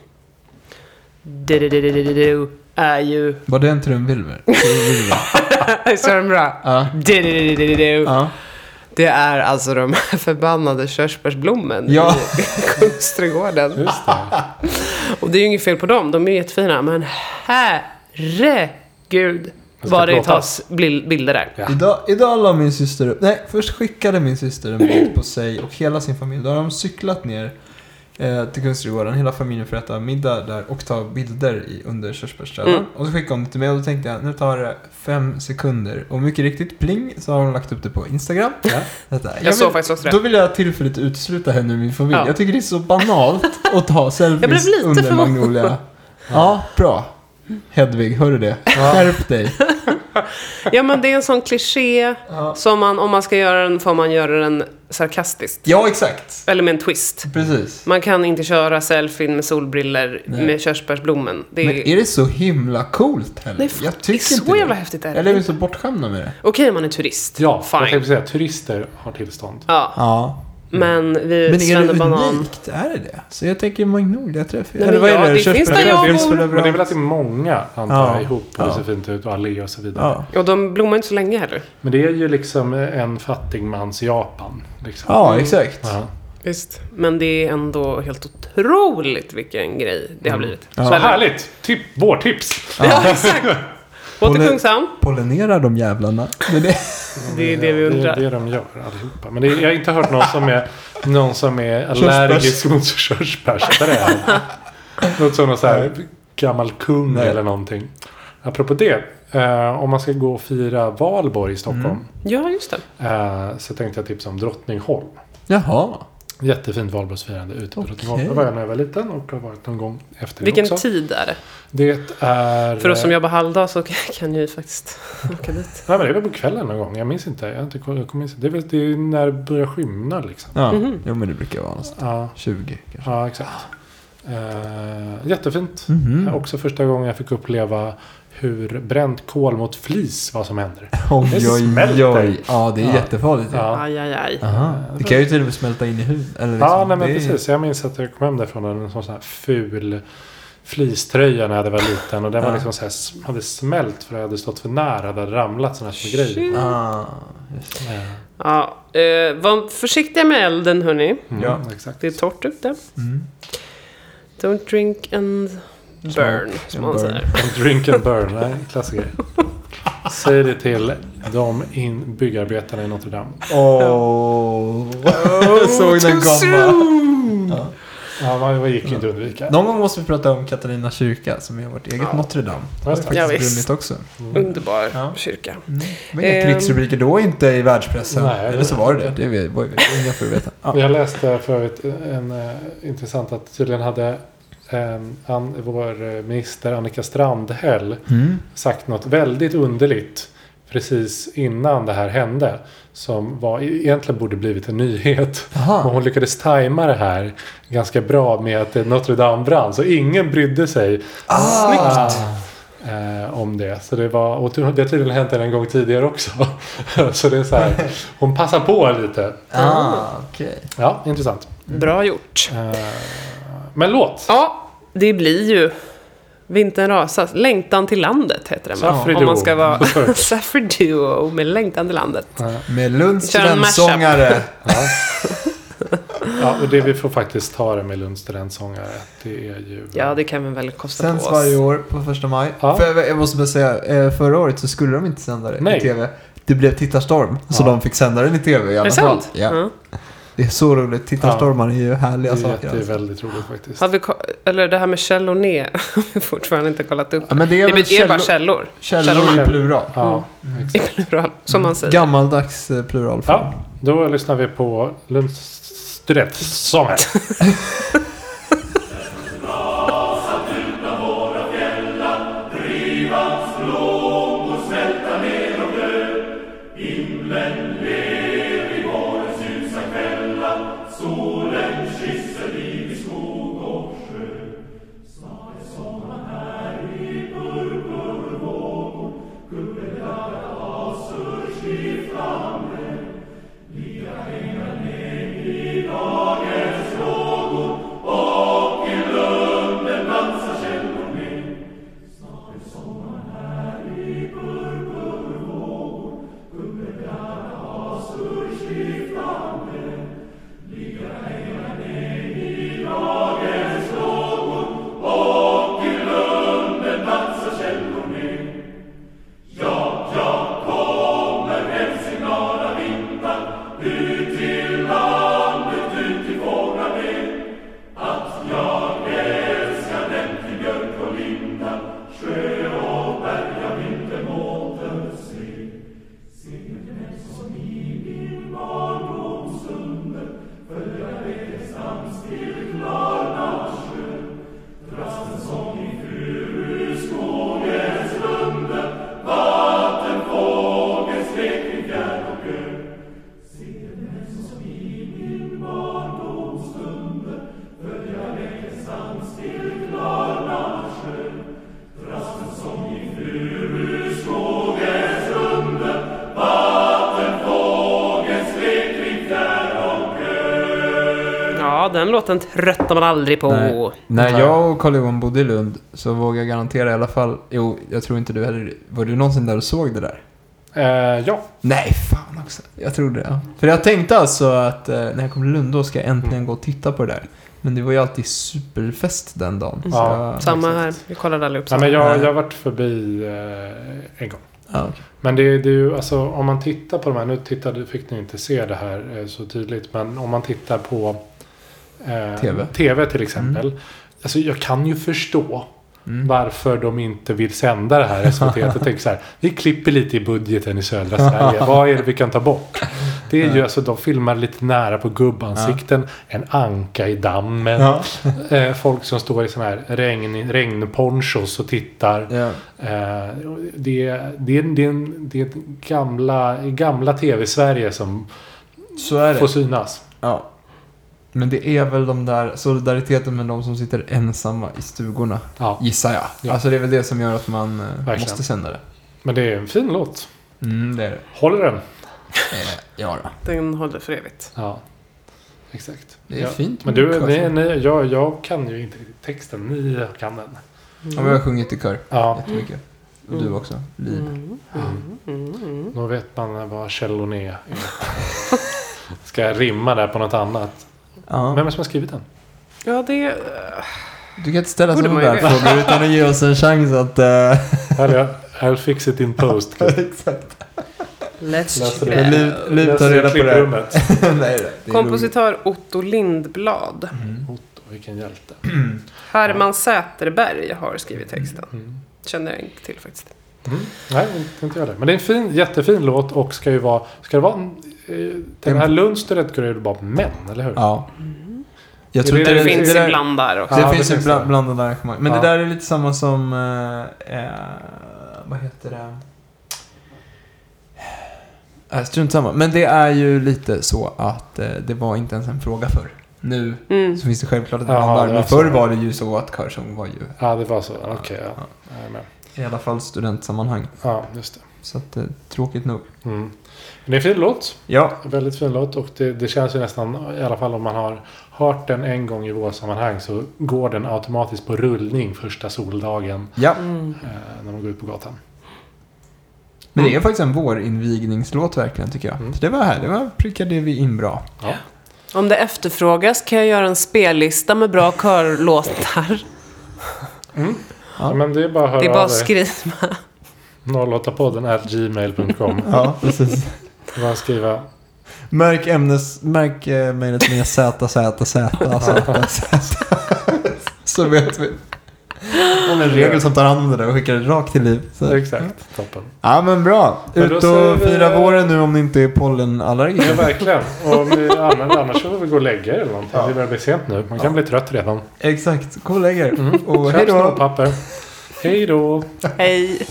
Du är ju...
Var det en trumvirvel?
Så är den bra.
Ja.
Du-du-du-du-du-du.
Ja.
Det är alltså de här förbannade körsbärsblommen
Ja.
i Kungsträdgården.
Just det.
Och det är ju inget fel på dem, de är ju jättefina. Men herregud
ska
vad det
plåtas.
tas bil- bilder där.
Ja.
Idag, idag la min syster upp, nej först skickade min syster en bild på sig och hela sin familj. Då har de cyklat ner eh, till Kungsträdgården, hela familjen för att äta middag där och ta bilder i, under körsbärsträden.
Mm.
Och så skickade hon det till mig och då tänkte jag, nu tar det fem sekunder. Och mycket riktigt, pling, så har hon lagt upp det på Instagram.
Ja.
Detta.
Jag såg faktiskt också det.
Då vill jag tillfälligt utesluta henne ur min familj.
Ja.
Jag tycker det är så banalt att ta selfies
blev lite
under
förvånad.
Magnolia. Ja, bra. Hedvig, hör du det? Skärp dig.
Ja men det är en sån kliché
Ja.
som man, om man ska göra den får man göra den sarkastiskt.
Ja, exakt.
Eller med en twist.
Precis.
Man kan inte köra selfien med solbriller
Nej.
med körsbärsblommen. Det
Men
är...
är det så himla coolt heller?
Nej, fan,
jag
Det är
tycker inte
så
det.
jävla häftigt är
Eller är vi
det.
så bortskämda med det?
Okej, man är turist.
ja, jag
Fine.
tänkte säga turister har tillstånd.
Ja,
Ja.
men vi
Men är det
Svenne Banan.
unikt? Är det det? Så jag tänker Magnolia träffar
Nej, men ja, det finns
Körsbär-
där jag
Körsbär-
bor.
överallt.
Men det är väl att det är många, antar
Ja.
jag, ihop. Och det ser
Ja.
fint ut och allé och så vidare.
Ja.
Och de blommar inte så länge heller.
Men det är ju liksom en fattigmans Japan. Liksom.
ja, exakt.
Ja.
Visst. Men det är ändå helt otroligt vilken grej det har blivit.
Ja.
Så
Så
är det.
härligt! Tip, vårtips!
Ja, exakt. Åter
Håller-
Kungshamn.
Pollinerar de jävlarna? Men det...
Det är det vi undrar.
Det är det de gör allihopa. Men det är, jag har inte hört någon som är, någon som är allergisk mot körsbärsträd. Något som någon så här gammal kung
Nej.
eller någonting. Apropå det. Eh, om man ska gå och fira valborg i Stockholm.
Ja, just det.
Mm.
Eh, så tänkte jag tipsa om Drottningholm.
Jaha.
Jättefint valborgsfirande ute på
Okej.
Drottningholm. Det var jag när jag var liten och har varit någon gång efter
Vilken
det också.
tid är det?
Det är...
För oss som jobbar halvdag så kan ju faktiskt åka dit.
Nej, men det var på kvällen någon gång. Jag minns inte. Jag har inte koll- jag kommer inte det, är väl, det är när det börjar skymna liksom.
Ja.
Mhm.
Jo, men det brukar vara någonstans.
Ja,
20 kanske.
ja exakt. Eh, jättefint.
Mhm.
Också första gången jag fick uppleva hur bränt kol mot flis vad som händer.
Oj, oj,
smälter.
oj. Ja, det är
Ja.
jättefarligt.
Ja.
Aj, aj, aj.
Aha. Det kan ju till och med smälta in i huden. Eller liksom,
ja, nej, men
det är-
precis. Jag minns att jag kom hem därifrån med en sån här ful fleecetröja när jag var liten. Och den var
Ja.
liksom så här, sm- hade smält för att jag hade stått för nära. Det hade ramlat såna här små grejer.
Ah, just det.
Eh,
Ja, eh, var försiktiga med elden, hörni.
Mm,
Ja.
ja. Exakt.
Det är torrt ute.
Mm.
Don't drink and burn, som
and
man
burn.
säger.
Drink and burn. Nej, klassiker. Säg det till de in, byggarbetarna i Notre Dame.
Åh. Jag såg den komma.
Ja, man man gick ju inte att undvika.
Någon gång måste vi prata om Katarina kyrka som är vårt eget Notre Dame.
Ja, Mm.
Det har
Ja,
faktiskt
visst.
brunnit också.
Underbar
Ja.
kyrka.
Det var inga
Ehm.
krigsrubriker då inte i världspressen.
Nej,
Eller så var det det. Det var ju inga för att veta. Ja.
Jag läste för övrigt en eh, intressant att tydligen hade eh, an, vår eh, minister Annika Strandhäll
Mm.
sagt något väldigt underligt precis innan det här hände. Som var, e-, egentligen borde blivit en nyhet.
Aha.
Men hon lyckades tajma det här ganska bra med att det är Notre Dame brann. Så ingen brydde sig
Ah.
eh, om det. Så det, var, och det har tydligen hänt en gång tidigare också. så det är så här, hon passar på lite.
Ah, okej.
Ja, intressant.
Bra gjort.
Eh, men låt.
Ja, det blir ju Vintern rasar. Längtan till landet heter den va?
Saffri
Om man
Duo.
ska vara Saffri Duo med Längtan till landet.
Med Lunds
Kör en mashup.
studentsångare.
Ja. ja, och det vi får faktiskt ta det med Lunds studentsångare. Det är ju...
Ja, det kan vi väl kosta
Sänds
på oss.
varje år på första maj.
Ja.
För jag- jag måste bara säga, eh, förra året så skulle de inte sända det i
Nej.
tv. Det blev tittarstorm, så
Ja.
de fick sända den i tv i
Är
alla
det
fall.
sant?
Ja.
Ja.
Det är så roligt. Tittarstormar är ju härliga
det är,
saker.
jätte-
Alltså.
väldigt roligt faktiskt.
Har vi, ko- eller det här med källor ner har vi fortfarande inte kollat upp.
Ja, men det är
det
väl
betyder bara
källor-
källor.
källor i plural.
Ja,
I
exakt.
plural, som man säger.
Gammaldags eh, pluralform.
ja, då lyssnar vi på Lunds studentsångare.
Ja, den låten tröttnar man aldrig på.
När, när jag och Carl-Johan bodde i Lund så vågar jag garantera i alla fall. Jo, jag tror inte du heller. Var du någonsin där och såg det där?
Eh, ja,
Nej, fan också. Jag trodde det. Ja. För jag tänkte alltså att eh, när jag kommer till Lund då ska jag äntligen gå och titta på det där. Men det var ju alltid superfest den dagen. så
Ja,
jag-
Samma här, vi kollade aldrig upp
Nej,
samma.
men jag, jag har varit förbi eh, en gång.
Ja, okej.
Men det, är- det är ju, alltså om man tittar på de här, nu tittade, fick ni inte se det här eh, så tydligt, men om man tittar på eh,
TV.
till exempel. Alltså jag kan ju förstå
Mm.
varför de inte vill sända det här SVT. Jag tänker så här, vi klipper lite i budgeten i södra Sverige. Vad är det vi kan ta bort? Det är ju alltså, de filmar lite nära på gubbansikten, en anka i dammen,
Ja.
eh, folk som står i sådana här regn, regnponchos och tittar.
Ja.
Eh, det, det, det, det är gamla, gamla tv-Sverige som
Så är det.
får synas.
Ja. Men det är väl de där solidariteten med de som sitter ensamma i stugorna.
Ja,
Gissar jag.
Ja.
Alltså det är väl det som gör att man eh,
Verkligen.
måste sända det.
men det är en fin låt.
Mm, det är det.
Håller den?
Eh, ja då.
Den håller för evigt.
Ja, exakt.
Det är
ja.
fint alltså.
Men
med
du,
kör.
ni, ni, jag, jag kan ju inte riktigt texten. Ni kan den.
Ja, men jag har sjungit i kör
Ja,
jättemycket. Och du också. Liv.
Mm.
då vet man vad källon är. Ska jag rimma där på något annat? Vem är
Ja.
det som har skrivit den?
Ja, det...
Du kan inte ställa
Borde
sådana
man ju
där
veta.
frågor utan att ge oss en chans att... eh,
Eller, I'll fix it in post.
Exakt.
Let's
Läser
check
du?
it out.
Liv, Liv tar reda på det.
Klipprummet.
Nej, det är
Kompositör Otto Lindblad.
Otto, vilken hjälte.
Herman Säterberg har skrivit texten. Känner jag inte till faktiskt.
Mm. Nej, inte- inte jag heller. Men det är en fin, jättefin låt och ska ju vara... Ska det vara... en- eh, Den här Lundstedt går ju bara män, eller hur?
roligt. Ja. Jag
Det
tror
är
inte
det
Det
det
finns
där-
ibland där också.
Det
Ja,
finns
det
ju
finns
bland,
det.
blandade arrangemang. Men
Ja.
det där är lite samma som... Eh, eh, vad heter det? Äh, Strunt samma. Men det är ju lite så att eh, det var inte ens en fråga förr. Nu
Mm.
så finns det självklart ett
Jaha,
annat varv.
det
Men
var så.
förr var det ju så att körsång var ju
Ja, det var så. Okej, ja. Jag är med.
i alla fall studentsammanhang.
Ja, just det.
Så att, eh, tråkigt nog.
Mm. Men det är en fin låt.
Ja.
Väldigt fin låt. Och det, det känns ju nästan, i alla fall om man har hört den en gång i vårsammanhang så går den automatiskt på rullning första soldagen
Ja,
Mm.
eh, när man går ut på gatan.
men det är faktiskt en vårinvigningslåt verkligen tycker jag.
Mm.
Så det var här, det var prickade vi in bra.
Ja.
Om det efterfrågas kan jag göra en spellista med bra körlåtar.
Ja, men det är bara att höra
Det är bara
av
att
dig.
skriva.
08podden at gmail.com.
Ja, precis.
Bara skriva
Märk ämnes, märk eh, mejlet med Z, Z, Z, Alltså, Z, Z. Så vet vi. Om en regel som tar hand om det där och skickar det rakt till liv. Så.
Exakt, toppen.
Ja men bra.
Men då
Ut
säger
och
vi-
fira våren nu om ni inte är
Ja,
pollenallergiker.
verkligen. Och om ni använder annars så får vi gå och lägga er eller någonting. Det börjar bli sent nu. Man kan bli trött redan. Mm.
Exakt, gå och lägg er. Och
Köp
hej då.
snopppapper. Hej då.
Hej.